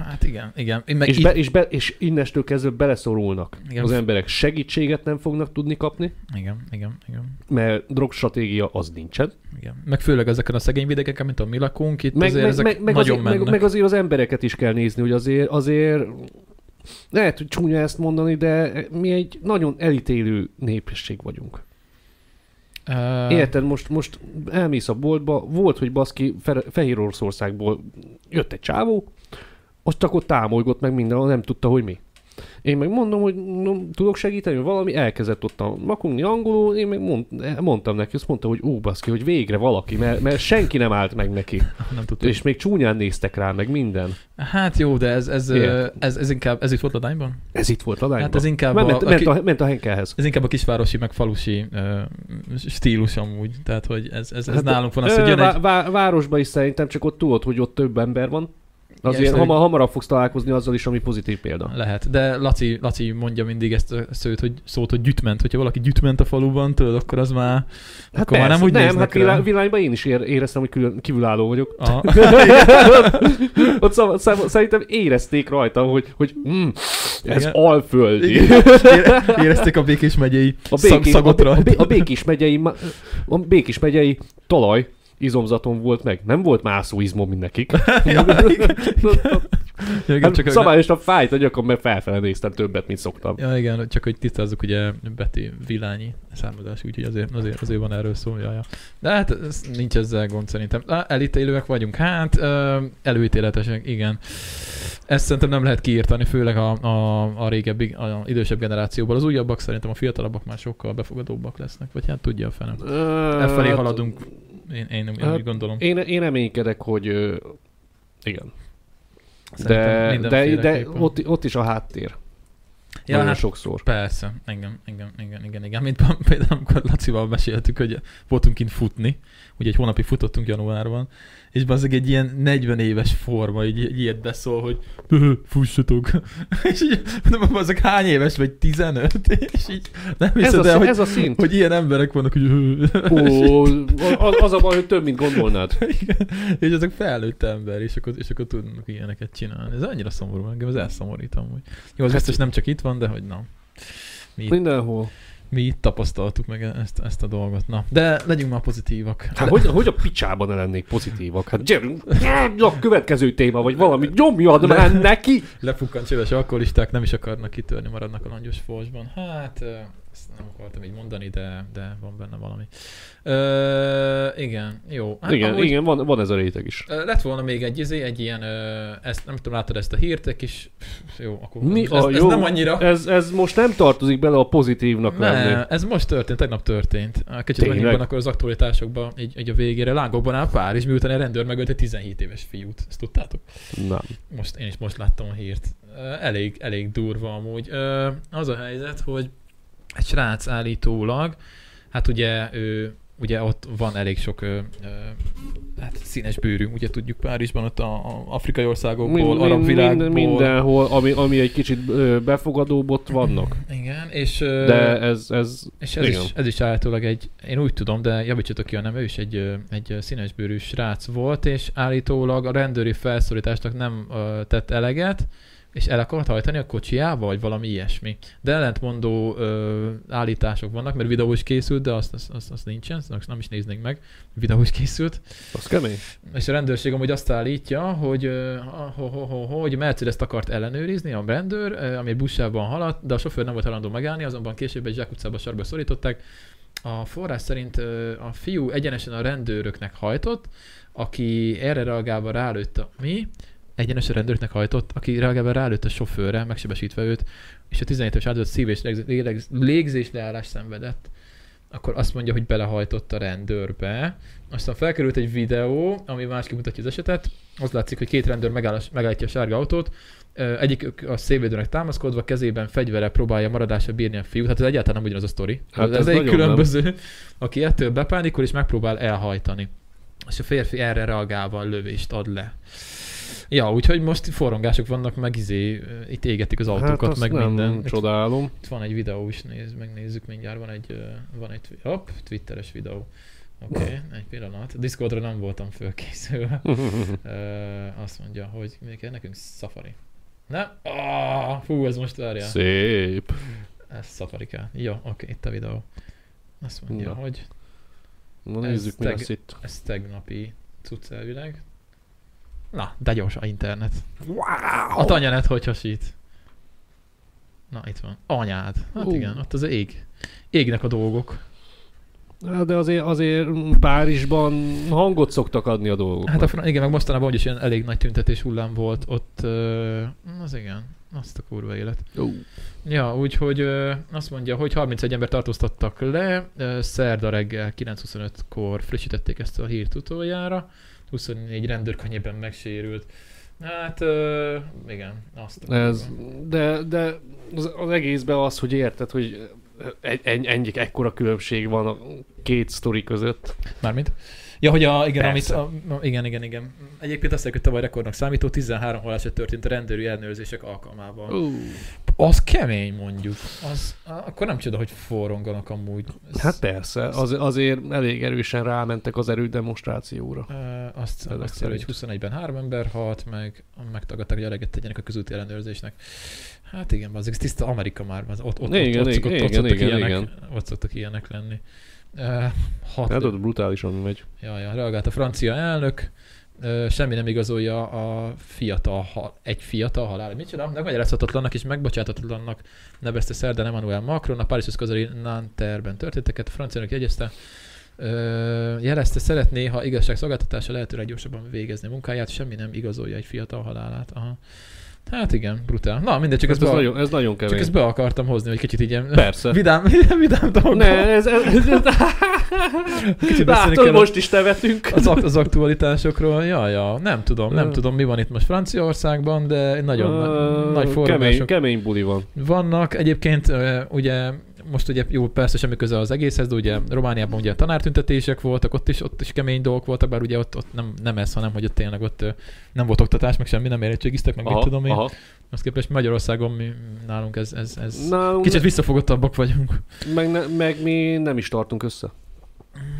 Hát igen, igen. Én meg És, itt- be, és, be, és innestől kezdve beleszorulnak Igen. az emberek. Segítséget nem fognak tudni kapni, Igen, igen, igen. mert drogstratégia az nincsen. Igen. Meg főleg ezeken a szegény vidékeken, mint ahol mi lakunk, itt meg, azért meg, ezek meg, meg, nagyon azért, mennek. meg, meg azért az embereket is kell nézni, hogy azért, azért lehet, hogy csúnya ezt mondani, de mi egy nagyon elítélő népesség vagyunk. Ö, Érted, most, most elmész a boltba, volt, hogy baszki Fe- Fehér Oroszországból jött egy csávó, az csak ott támolygott meg minden, nem tudta, hogy mi. Én meg mondom, hogy no, tudok segíteni, vagy valami elkezdett ott a makungni angolul, én meg mond, mondtam neki, azt mondta, hogy ú, baszki, hogy végre valaki, mert, mert senki nem állt meg neki. Nem tudtam. És még csúnyán néztek rá, meg minden. Hát jó, de ez, ez, ö, Miért? ez, ez inkább, ez itt volt ladányban? Ez itt volt a Hát ez inkább Már ment, a, a, ment, ki, a, ment a Henkelhez. ez inkább a kisvárosi, meg falusi ö, stílus amúgy. Tehát, hogy ez, ez, ez Hát, nálunk van az, Ö, hogy jön vá- egy... vá- városban is szerintem csak ott tudod, hogy ott több ember van. Azért és ja, hogy- hamar, hamarabb fogsz találkozni azzal is, ami pozitív példa. Lehet, de Laci, Laci mondja mindig ezt a szót, hogy, szót, hogy gyütment. Hogyha valaki gyütment a faluban, tudod, akkor az már... Hát Akkor már nem úgy nem néznek hát rá. vilá- világban én is ér- éreztem, hogy külön- kívülálló vagyok. A, ott szab- szab- szerintem érezték rajta, hogy, hogy mm, ez Igen. alföldi. igen, érezték a Békés megyei A, szag- békés, a, szagot a, rajta. a, békés megyei, ma- a békés megyei talaj izomzaton volt meg. Nem volt mászó izmom, mint nekik. Ja, igen, Hát csak csak a, szabályosan fájt a gyakran, mert felfele néztem többet, mint szoktam. Ja, igen, csak hogy tisztázzuk, ugye Beti Vilányi származás, úgyhogy azért, azért, azért van erről szó. Ja, ja. De hát ez, nincs ezzel gond szerintem. Á, Elítélőek vagyunk. Hát ö, előítéletesek, igen. Ezt szerintem nem lehet kiírtani, főleg a, a, a régebbi, a, a idősebb generációból. Az újabbak szerintem a fiatalabbak már sokkal befogadóbbak lesznek, vagy hát tudja a fenem. Ö, Efelé hát haladunk, én, én, én hát úgy gondolom. Én, én reménykedek, hogy ö, igen. De, Szerintem de, de mindenféleképpen. ott, ott is a háttér. Ja, ja, nagyon hát sokszor. Persze, igen, igen, igen, igen, igen. Mint pá- például, amikor Lacival meséltük, hogy voltunk kint futni, ugye egy hónapig futottunk januárban, és bazzeg egy ilyen 40 éves forma, így, így ilyet beszól, hogy "Öhö, fussatok. és így mondom, bazzeg hány éves vagy? 15? És így nem Ez hiszed a, el, hogy, ez a szint. hogy ilyen emberek vannak, hogy "Öhö." Ó, az, az a baj, hogy több, mint gondolnád. Igen. és ezek felnőtt ember, és akkor, és akkor tudnak ilyeneket csinálni. Ez annyira szomorú, engem ez elszomorít amúgy. Jó, Hát- az biztos nem csak itt van, de hogy nem. Mi itt Mindenhol. mi itt tapasztaltuk meg ezt, ezt a dolgot. Na, de legyünk már pozitívak. Hát hogy, hogy a picsában ne lennék pozitívak? Hát gyerünk, a következő téma, vagy valami, nyomjad már neki! Lefukkant csöves alkoholisták, nem is akarnak kitörni, maradnak a langyos forsban. Hát, ö, ezt nem akartam így mondani, de, de van benne valami. Ö, igen, jó. Hát Igen, amúgy, igen, van, van ez a réteg is. ö, Lett volna még egy, izé, egy ilyen, ö, ezt, nem tudom, láttad ezt a hírt, egy kis, jó, akkor Mi ez, a ez jó? nem annyira. Ez, ez most nem tartozik bele a pozitívnak lenni. Ne, ez most történt, tegnap történt. Kicsit Tényleg? menjünk akkor az aktualitásokba, így, így a végére. Lángokban áll Párizs, miután egy rendőr megölt egy 17 éves fiút. Ezt tudtátok? Nem. Most, én is most láttam a hírt. Ö, Elég, elég durva amúgy. Ö, Az a helyzet, hogy egy srác állítólag, hát ugye ő, ugye ott van elég sok ö, ö, hát színes bőrű, ugye tudjuk Párizsban, ott a, a afrikai országokból, Min- arab min- világból. mindenhol, ami, ami egy kicsit ö, befogadóbb, ott vannak. Igen, és, ö, De ez, ez és ez, igen. is, ez is állítólag egy, én úgy tudom, de javítsatok ki, ha nem, ő is egy, ö, egy ö, színes bőrű srác volt, és állítólag a rendőri felszólításnak nem ö, tett eleget, és el akart hajtani a kocsiával, vagy valami ilyesmi. De ellentmondó ö, állítások vannak, mert videó is készült, de azt, azt, azt, azt nincsen, azt nem is néznénk meg. Videó is készült. Az kemény. És a rendőrség amúgy azt állítja, hogy, ö, ho, ho, ho, ho, hogy mercedes akart ellenőrizni a rendőr, ö, ami egy buszában haladt, de a sofőr nem volt hajlandó megállni, azonban később egy zsákutcába sarba szorították. A forrás szerint ö, a fiú egyenesen a rendőröknek hajtott, aki erre reagálva rálőtt a mi, egyenes a rendőröknek hajtott, aki reagálva rálőtt a sofőrre, megsebesítve őt, és a 17 éves áldozat szív- és légz- légz- légzésleállást szenvedett, akkor azt mondja, hogy belehajtott a rendőrbe. Aztán felkerült egy videó, ami más kimutatja az esetet. Az látszik, hogy két rendőr megáll, megállítja a sárga autót. Ö, Egyik a szélvédőnek támaszkodva, kezében fegyvere próbálja maradásra bírni a fiút. Hát ez egyáltalán nem ugyanaz a sztori. Hát Hát ez, ez ez egy nagyon nem. különböző, nem. aki ettől bepánikol és megpróbál elhajtani. És a férfi erre reagálva lövést ad le. Ja, úgyhogy most forrongások vannak, meg izé, ö, itt égetik az autókat, hát azt meg nem minden. Itt csodálom. itt van egy videó is, néz, megnézzük mindjárt, van egy, ö, van egy twi- hopp, twitteres videó. Oké, okay, egy pillanat. Discordra nem voltam fölkészülve. Ö, azt mondja, hogy mi kell nekünk Safari. Nem? Ah, fú, ez most várja. Szép. Ez Safari kell. Jó, oké, okay, itt a videó. Azt mondja, Na. hogy Na Ez nézzük, mi teg- lesz itt. ez tegnapi cucc elvileg. Na, de gyors a internet. Wow! A tanyanet hogy hasít. Na, itt van. Anyád. Hát Ú. igen, ott az ég. Égnek a dolgok. Hát de azért, azért Párizsban hangot szoktak adni a dolgok. Hát a fran- igen, meg mostanában úgyis ilyen elég nagy tüntetés hullám volt ott. Ö, az igen, azt a kurva élet. Ja, úgyhogy ö, azt mondja, hogy 31 ember tartóztattak le, ö, szerda reggel 9.25-kor frissítették ezt a hírt utoljára, 24 rendőr könnyebben megsérült. Hát, ö, igen, azt a Ez, kurva. de, de az, az egészben az, hogy érted, hogy egy, egy, ennyi, ekkora különbség van a két sztori között. Mármint? Ja, hogy a, igen, amit, Persze. a, a- igen, igen, igen. Egyébként azt mondják, hogy tavaly rekordnak számító 13 haláleset történt a rendőri ellenőrzések alkalmával. Az kemény mondjuk. Az, á, akkor nem csoda, hogy forronganak amúgy. Ez, Hát persze, az, azért elég erősen rámentek az erődemonstrációra. ö, azt, ezek azt jelöli, hogy 21-ben három ember halt, meg megtagadták, hogy eleget tegyenek a közúti ellenőrzésnek. Hát igen, az tiszta Amerika már, az ott, ott, Igen, ott, ott, szokott- igen, ott, szoktak igen, ilyenek, igen. ott szoktak ilyenek lenni. Ö, Hat, Hát ott brutálisan megy. Ja, ja, reagált a francia elnök, Ö, semmi nem igazolja a fiatal, hal, egy fiatal halál. Micsoda? Megmagyarázhatatlannak és megbocsátatlannak nevezte szerdán Emmanuel Macron a Párizshoz közeli Nanterben történteket. A francia elnök jegyezte, Ö, jelezte, szeretné, ha igazságszolgáltatása lehetőleg gyorsabban végezni a munkáját, semmi nem igazolja egy fiatal halálát. Aha. Hát igen, brutál. Na, mindegy, csak, Csak ez, ezt ez, be, nagyon, ez nagyon csak kemény. ezt be akartam hozni, hogy kicsit így ilyen Persze. vidám, vidám dolgok. Ne, ez, ez, ez, ez Kicsit beszélni látod, kellett. most is nevetünk. Az, ak- az aktualitásokról, ja, ja, nem tudom, nem Ö. tudom, mi van itt most Franciaországban, de nagyon Ö, na- nagy kemény, források kemény buli van. vannak. Egyébként ö, ugye most ugye jó, persze semmi köze az egészhez, de ugye Romániában ugye tanártüntetések voltak, ott is, ott is kemény dolgok voltak, bár ugye ott, ott nem, nem ez, hanem hogy ott tényleg ott ö, nem volt oktatás, meg semmi, nem érettségiztek, meg aha, mit tudom én. Aha. Azt képest Magyarországon mi, nálunk ez, ez, ez Nálunk kicsit visszafogottabbak vagyunk. meg, ne, meg mi nem is tartunk össze.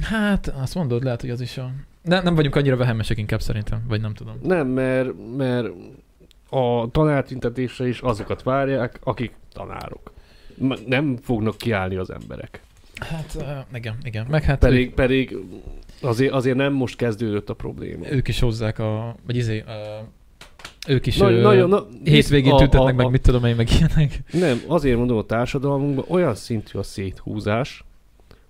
Hát, azt mondod, lehet, hogy az is a... Ne, nem vagyunk annyira vehemesek inkább szerintem, vagy nem tudom. Nem, mert, mert a tanártüntetésre is azokat várják, akik tanárok. M- Nem fognak kiállni az emberek. Hát ö, igen, igen. Meg hát Pedig, pedig azért, azért nem most kezdődött a probléma. ők, ők is hozzák a... Vagy izé, ö, ők is Nagy- ö, na, hétvégén a- tüntetnek a- meg, a- mit tudom én, meg ilyenek. Nem, azért mondom, a társadalmunkban olyan szintű a széthúzás,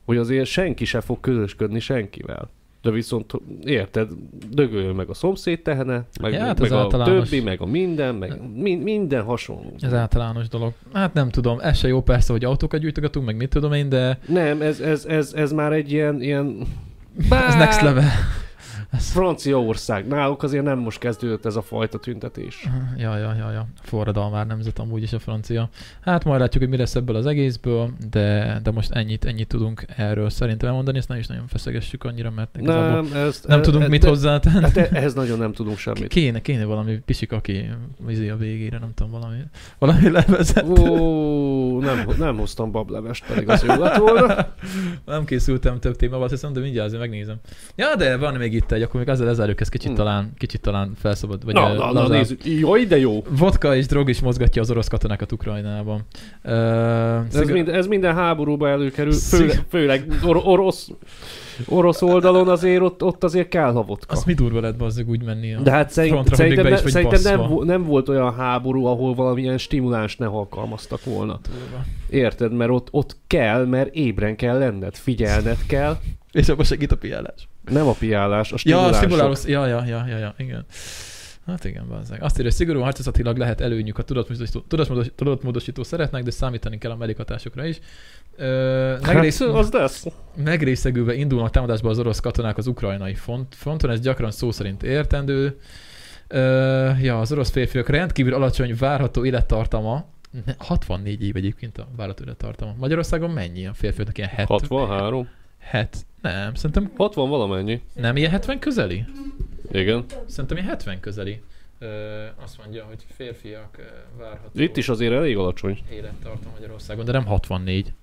hogy azért senki se fog közösködni senkivel. De viszont, érted, dögöljön meg a szomszéd tehene, meg, Ja, ja, hát meg ez a általános. Hát- többi, meg a minden, meg min- minden hasonló. Ez általános dolog. Hát nem tudom, ez se jó persze, hogy autókat gyújtogatunk, meg mit tudom én, de Nem, ez, ez, ez, ez már egy ilyen, ilyen ez next level. Franciaország. Náluk azért nem most kezdődött ez a fajta tüntetés. Ja, ja, ja, ja. Forradalmár nemzet amúgy is a francia. Hát majd látjuk, hogy mi lesz ebből az egészből, de, de most ennyit, ennyit tudunk erről szerintem elmondani, ezt nem is nagyon feszegessük annyira, mert igazából nem, Nem, ezt, nem e- tudunk e- mit de- hozzátenni. Hát e- ehhez nagyon nem tudunk semmit. Kéne, kéne valami pisik, aki vizé a végére, nem tudom, valami, valami levezet. Ó, nem, nem hoztam bablevest, pedig az jó lett volna. nem készültem több témával, azt hiszem, de mindjárt azért megnézem. Ja, de van még itt egy hogy akkor még ezzel lezárjuk, ez kicsit Hmm. talán, kicsit talán felszabad. Vagy Na, eh, na, na, lazább. nézzük. Jaj, de jó! Vodka és drog is mozgatja az orosz katonákat Ukrajnában. Ö, Ez, sziga- mind, ez minden háborúba előkerül, Szig- főleg, főleg or- orosz, orosz oldalon azért ott, ott azért kell a vodka. Az mi durva lett bazzeg úgy menni. a- De hát szerint, frontra szerintem, mindig be ne, is vagy szerintem nem, basszva. vo- nem volt olyan háború, ahol valamilyen stimuláns ne alkalmaztak volna. Durva. Érted? Mert ott, ott kell, mert ébren kell lenned, figyelned kell. És abban segít a piálás. Nem a piálás, a Ja, a stimulások. stimulálós. Ja, ja, ja, ja, ja, igen. Hát igen, bazzeg. Azt írja, hogy szigorúan harcászatilag lehet előnyük a tudatmódosító, tudatmódos, tudatmódosító szeretnek, de számítani kell a mellékhatásokra is. Ö, megrész, Hát, az lesz. megrészegülve indulnak támadásba az orosz katonák az ukrajnai font, fronton, ez gyakran szó szerint értendő. Ö, ja, az orosz férfiak rendkívül alacsony várható élettartama, Ne, 64 év egyébként a várható élettartama. Magyarországon mennyi a férfiaknak? Ilyen 70? 63? Het, nem, szerintem 60 valamennyi. nem ilyen 70 közeli? Igen. Szerintem ilyen 70 közeli. Ö, azt mondja, hogy férfiak ö, várható Itt is azért elég alacsony. élettartam Magyarországon, de nem 64.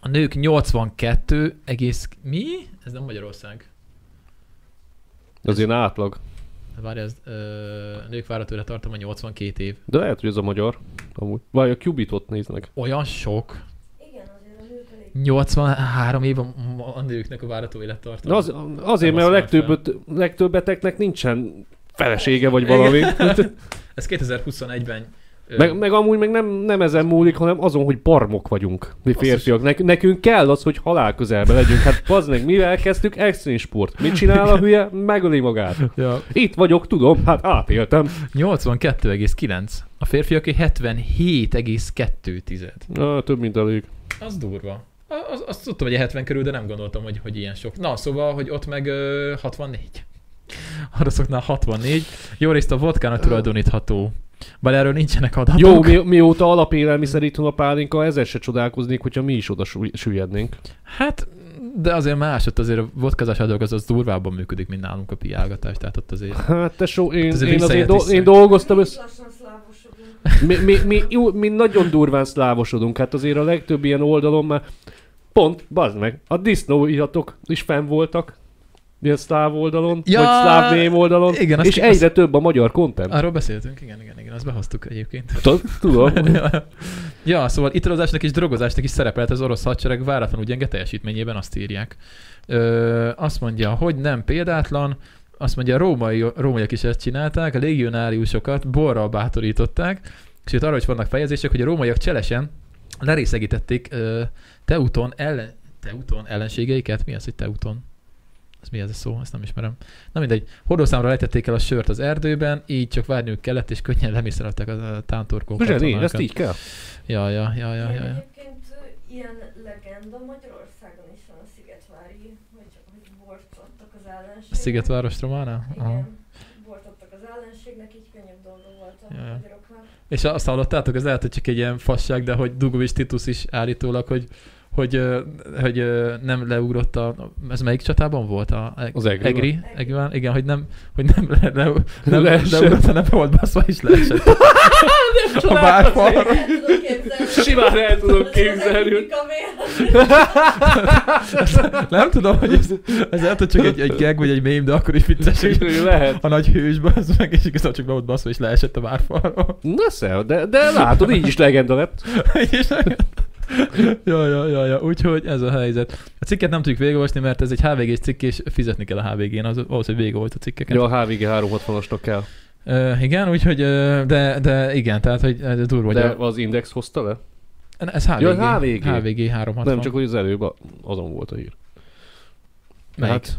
A nők 82 egész... Mi? Ez nem Magyarország. Ez ilyen átlag. Várj, ez ö, a nők várható élettartama 82 év. De lehet, hogy ez a magyar. Amúgy. Vagy a Cubitot néznek. Olyan sok. Igen, azért a nők elég. 83 év a, a nőknek a várható élettartama. De az, Nem azért, mert a azt mondom legtöbbet, legtöbbeteknek nincsen felesége vagy valami. Ez 2021-ben. ö, Meg, meg amúgy meg nem, nem ezen múlik, hanem azon, hogy barmok vagyunk, mi Basszus. férfiak. Nek, nekünk kell az, hogy halál közelben legyünk. Hát bazd meg, mivel kezdtük? Extrém sport. Mit csinál a hülye? Megöli magát. Ja, Itt vagyok, tudom, hát átéltem. 82,9. A férfiaké 77,2 tized. Na, több, mint elég. Az durva. A- Az, azt tudtam, hogy a 70 körül, de nem gondoltam, hogy, hogy ilyen sok. Na, szóval, hogy ott meg ö, 64. Oroszoknál 64. Jó részt a vodkának tulajdonítható. Bár erről nincsenek adatok. Jó, mi, mióta alapélelmiszer itthon a pálinka, ezzel se csodálkoznék, hogyha mi is oda sü- süllyednénk. Hát, de azért más, ott azért a vodkázás dolog az, az durvábban működik, mint nálunk a piálgatás, tehát ott azért... Hát tesó, én, Hát azért én, azért visszaért do- vissza. én dolgoztam össze. Lassan szlávosodunk. Mi, mi, mi, jó, mi nagyon durván szlávosodunk, hát azért a legtöbb ilyen oldalon már pont, bazd meg, a disznóiratok is fenn voltak, ilyen szláv oldalon, Ja, ja, vagy szláv ném oldalon, igen, azt és ki- egyre több a magyar content. Arról beszéltünk, igen, igen, igen, azt behoztuk egyébként. Tud- Tudom. ja, szóval italozásnak és drogozásnak is szerepelt az orosz hadsereg váratlanul gyenge teljesítményében, azt írják. Ö, azt mondja, hogy nem példátlan, azt mondja, a római, rómaiak is ezt csinálták, a légionáriusokat borral bátorították, és itt arra is vannak fejezések, hogy a rómaiak cselesen lerészegítették ö, Teuton, ellen, Teuton ellenségeiket. Mi az, hogy Teuton? Ez mi ez a szó? Ezt nem ismerem. Na mindegy. Hordószámra lejtették el a sört az erdőben, így csak várniuk kellett, és könnyen lemészárolták a a tántorkókat. Zseni, katonákat. ezt így kell. Ja, ja, ja, ja, ja, ja. Egyébként ö, ilyen legenda Magyarországon is van a Szigetvári, hogy, hogy bort adtak az ellenségnek. A Szigetváros románál? Aha. Igen. Bort adtak az ellenségnek, így könnyebb dolga volt a Ja, ja. magyaroknak. És azt hallottátok, ez lehet, hogy csak egy ilyen fasság, de hogy Dugovics Titus is állítólag, hogy hogy, ö, hogy ö, nem leugrott a... Ez melyik csatában volt? A, Az Egri Egri, Egriben? Igen, hogy nem, hogy nem, le, le, nem, Leesett. leugrott, hanem be volt baszva is leesett. nem a bárfalra. El tudom képzelni. Simán el tudom Az egyik képzelni. kaméra. Nem tudom, hogy ez, ez lehet, hogy csak egy, egy gag vagy egy mém, de akkor is vicces. hogy Lehet. A nagy hős bazd meg, és igazán csak be volt baszva, és leesett a várfalról. Na szel, de, de látod, így is legenda lett. És- ja, ja, ja, ja, úgyhogy ez a helyzet. A cikket nem tudjuk végigolvasni, mert ez egy hvg cikk, és fizetni kell a HVG-n, az, ahhoz, hogy végigolvasd a cikkeket. Ja, a HVG 360-asnak kell. Ö, igen, úgyhogy, ö, de, de igen, tehát, hogy ez durva, hogy De a, az Index hozta le? ez HVG, Ja, HVG. HVG 360. Nem, csak hogy az előbb a- azon volt a hír. Melyik? Hát,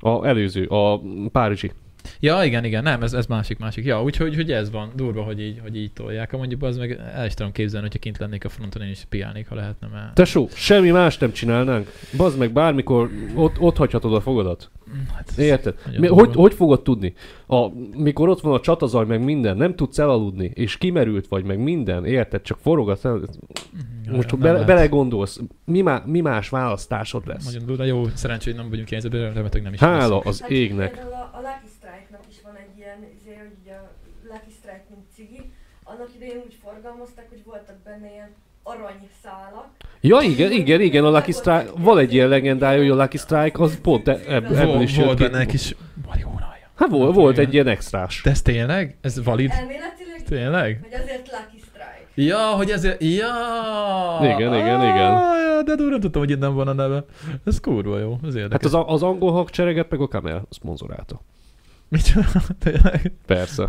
a előző, a Párizsi. Ja, igen, igen, nem, ez, ez másik, másik. Ja, úgyhogy hogy ez van, durva, hogy így, hogy így tolják. Ha Mondjuk az meg el is tudom képzelni, hogyha kint lennék a fronton, én is piálnék, ha lehetne, mert... Tesó, semmi más nem csinálnánk. Bazd meg, bármikor ott, ott hagyhatod a fogadat. Hát ez Érted? nagyon Mi, durva. hogy, hogy fogod tudni? A, mikor ott van a csatazaj, meg minden, nem tudsz elaludni, és kimerült vagy, meg minden, érted? Csak forog a Ja, Most Mm, ja, ha nem bele, lehet. belegondolsz, mi, má, mi más választásod lesz? Nagyon durva, jó, szerencsé, hogy nem vagyunk ilyen helyzetben, remetőleg nem is. lesz. Hála az Hát égnek. Például a, a Lucky Strike-nak is van egy ilyen, izé, hogy ugye a Lucky Strike, mint cigi, annak idején úgy forgalmazták, hogy voltak benne ilyen aranyszálak. Ja igen, igen, igen, a Lucky Strike, van egy ilyen legendája, hogy a Lucky Strike az pont e- ebb- Vol- ebből is jött volt ki. benne egy kis harmadik hónapja. Hát volt, Hát volt igen. egy ilyen extrás. De ez tényleg? Ez valid? Elméletileg, Tényleg? hogy azért Lucky Strike. Ja, hogy ezért... Ja! Igen, igen, igen. Ah, ja, de durva, nem tudtam, hogy innen van a neve. Ez kurva jó, ez érdekes. Hát az, a- az angol hangcsereget meg a Kamel szponzorálta. Mit csinál? Tényleg? Persze.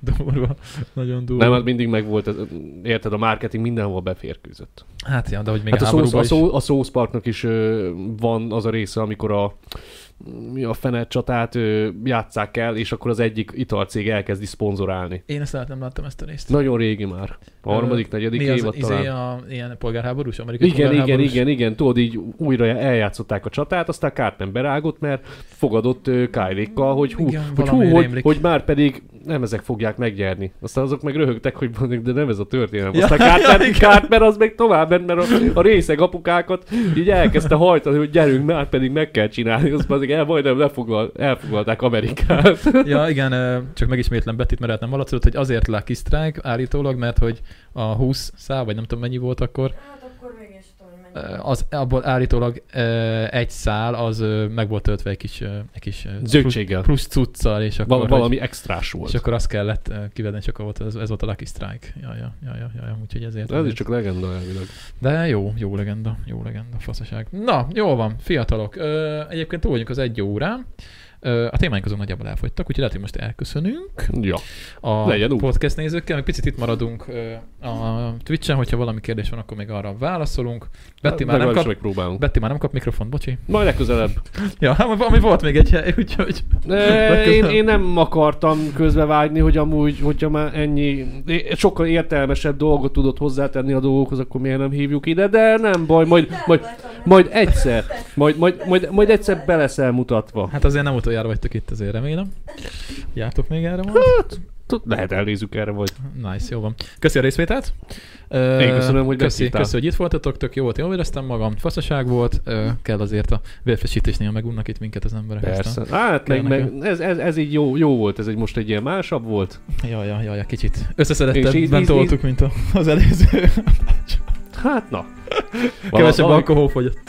Durva. Nagyon durva. Nem, hát mindig megvolt, ez- érted, a marketing mindenhol beférkőzött. Hát ja, de hogy még Hát a, South, háborúban a, is. South, a South Parknak is ö, van az a része, amikor a mi a fene csatát ö, játsszák el, és akkor az egyik italcég elkezdi szponzorálni. Én ezt lehet nem láttam ezt a részt. Nagyon régi már. A harmadik, negyedik Mi az, évad izé talán. a, ilyen polgárháborús, amerikai Igen, igen, polgárháborús? igen, igen, tudod, így újra eljátszották a csatát, aztán kárt nem berágott, mert fogadott ö, Kylie-kkal, hogy hú, Igen, hogy, hú valamire hogy, rémlik. hogy, már pedig nem ezek fogják megnyerni. Aztán azok meg röhögtek, hogy mondjuk, de nem ez a történelem. Ja, Aztán kárt, ja, ment, igen. kárt mert az meg tovább ment, mert a, a részeg apukákat így elkezdte hajtani, hogy gyerünk, már pedig meg kell csinálni. Azt pedig el, majdnem lefoglal, elfoglalták Amerikát. Ja, igen, ö, csak megismétlem Betit, mert hát nem alacodott, hogy azért Lucky Strike állítólag, mert hogy a 20 szá, vagy nem tudom mennyi volt akkor, Hát akkor még én sem tudom, hogy ö, mennyi. az, abból állítólag ö, egy szál, az ö, meg volt töltve egy kis, ö, egy kis ö, plusz, Zöldséggel. plusz cuccal, és akkor, Val- hogy- valami extrás volt. és akkor azt kellett ö, kivenni, és akkor volt, ez, ez volt a Lucky Strike. Ja, ja, ja, ja, ja, ja úgyhogy ezért. Ez is ezért. csak legenda elvileg. De jó, jó legenda, jó legenda, faszaság. Na, jó van, fiatalok. Ö, egyébként túl vagyunk az egy órán. Ö, a témáink azon nagyjából elfogytak, úgyhogy lehet, hogy most elköszönünk Ja. a Legyen úgy. podcast nézőkkel, meg picit itt maradunk ö, a Twitch-en, hogyha valami kérdés van, akkor még arra válaszolunk. Betty már, nem Hát Legalábbis kap, megpróbálunk. Betty már nem kap mikrofont, bocsi. Majd legközelebb. Ja, hát valami volt még egy hely, úgyhogy... Ne, Én, Legközelebb. én nem akartam közbevágni, hogy amúgy, hogyha már ennyi, sokkal értelmesebb dolgot tudod hozzátenni a dolgokhoz, akkor miért nem hívjuk ide, de nem baj, majd, Így majd, elváltam, nem? majd egyszer, majd, majd, majd, majd egyszer beleszel mutatva. Hát azért nem utoljára vagytok itt, azért remélem. Jártok még erre majd? Tud- Lehet elnézzük erre, vagy Nice, jó van. Köszi a részvételt. Ö, Én köszönöm, hogy köszi, meghívtál. köszi, hogy itt voltatok, tök jó volt, jól éreztem magam. Faszaság volt, Ö, kell azért a vérfesítés néha megunnak itt minket az emberek. persze. Hát meg, meg ez, ez, ez így jó, jó volt, ez egy most egy ilyen másabb volt. Aztán... Jaj, jaj, jaj, kicsit És így- összeszedettebben így- toltuk, mint a, az előző. Hát na. Kevesebb Vala- alkohol fogyott.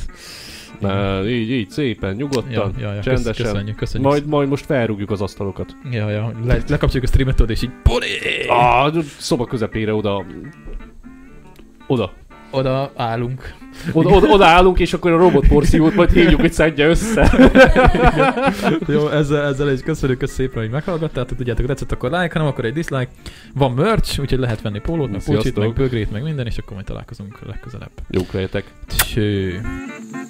Na, így, így szépen, Ja, nyugodtan, ja, ja, kösz- csendesen. köszönjük, köszönjük. Majd, majd most felrúgjuk az asztalokat. Ja, ja, le, lekapcsoljuk a streamet, tudod, és így poli! Ah, szoba közepére oda. Oda. Oda állunk. Oda, oda, oda állunk, és akkor a robotporszívót majd hívjuk, hogy szedje össze. Jó, ezzel, ezzel is köszönjük, kösz szépen, hogy meghallgattátok. Tudjátok, tetszett, akkor like, ha nem, akkor egy dislike. Van merch, úgyhogy lehet venni pólót, meg pulcsit, Sziasztok. meg bögrét, meg minden, és akkor majd találkozunk legközelebb. Jók lehetek. Tschüss.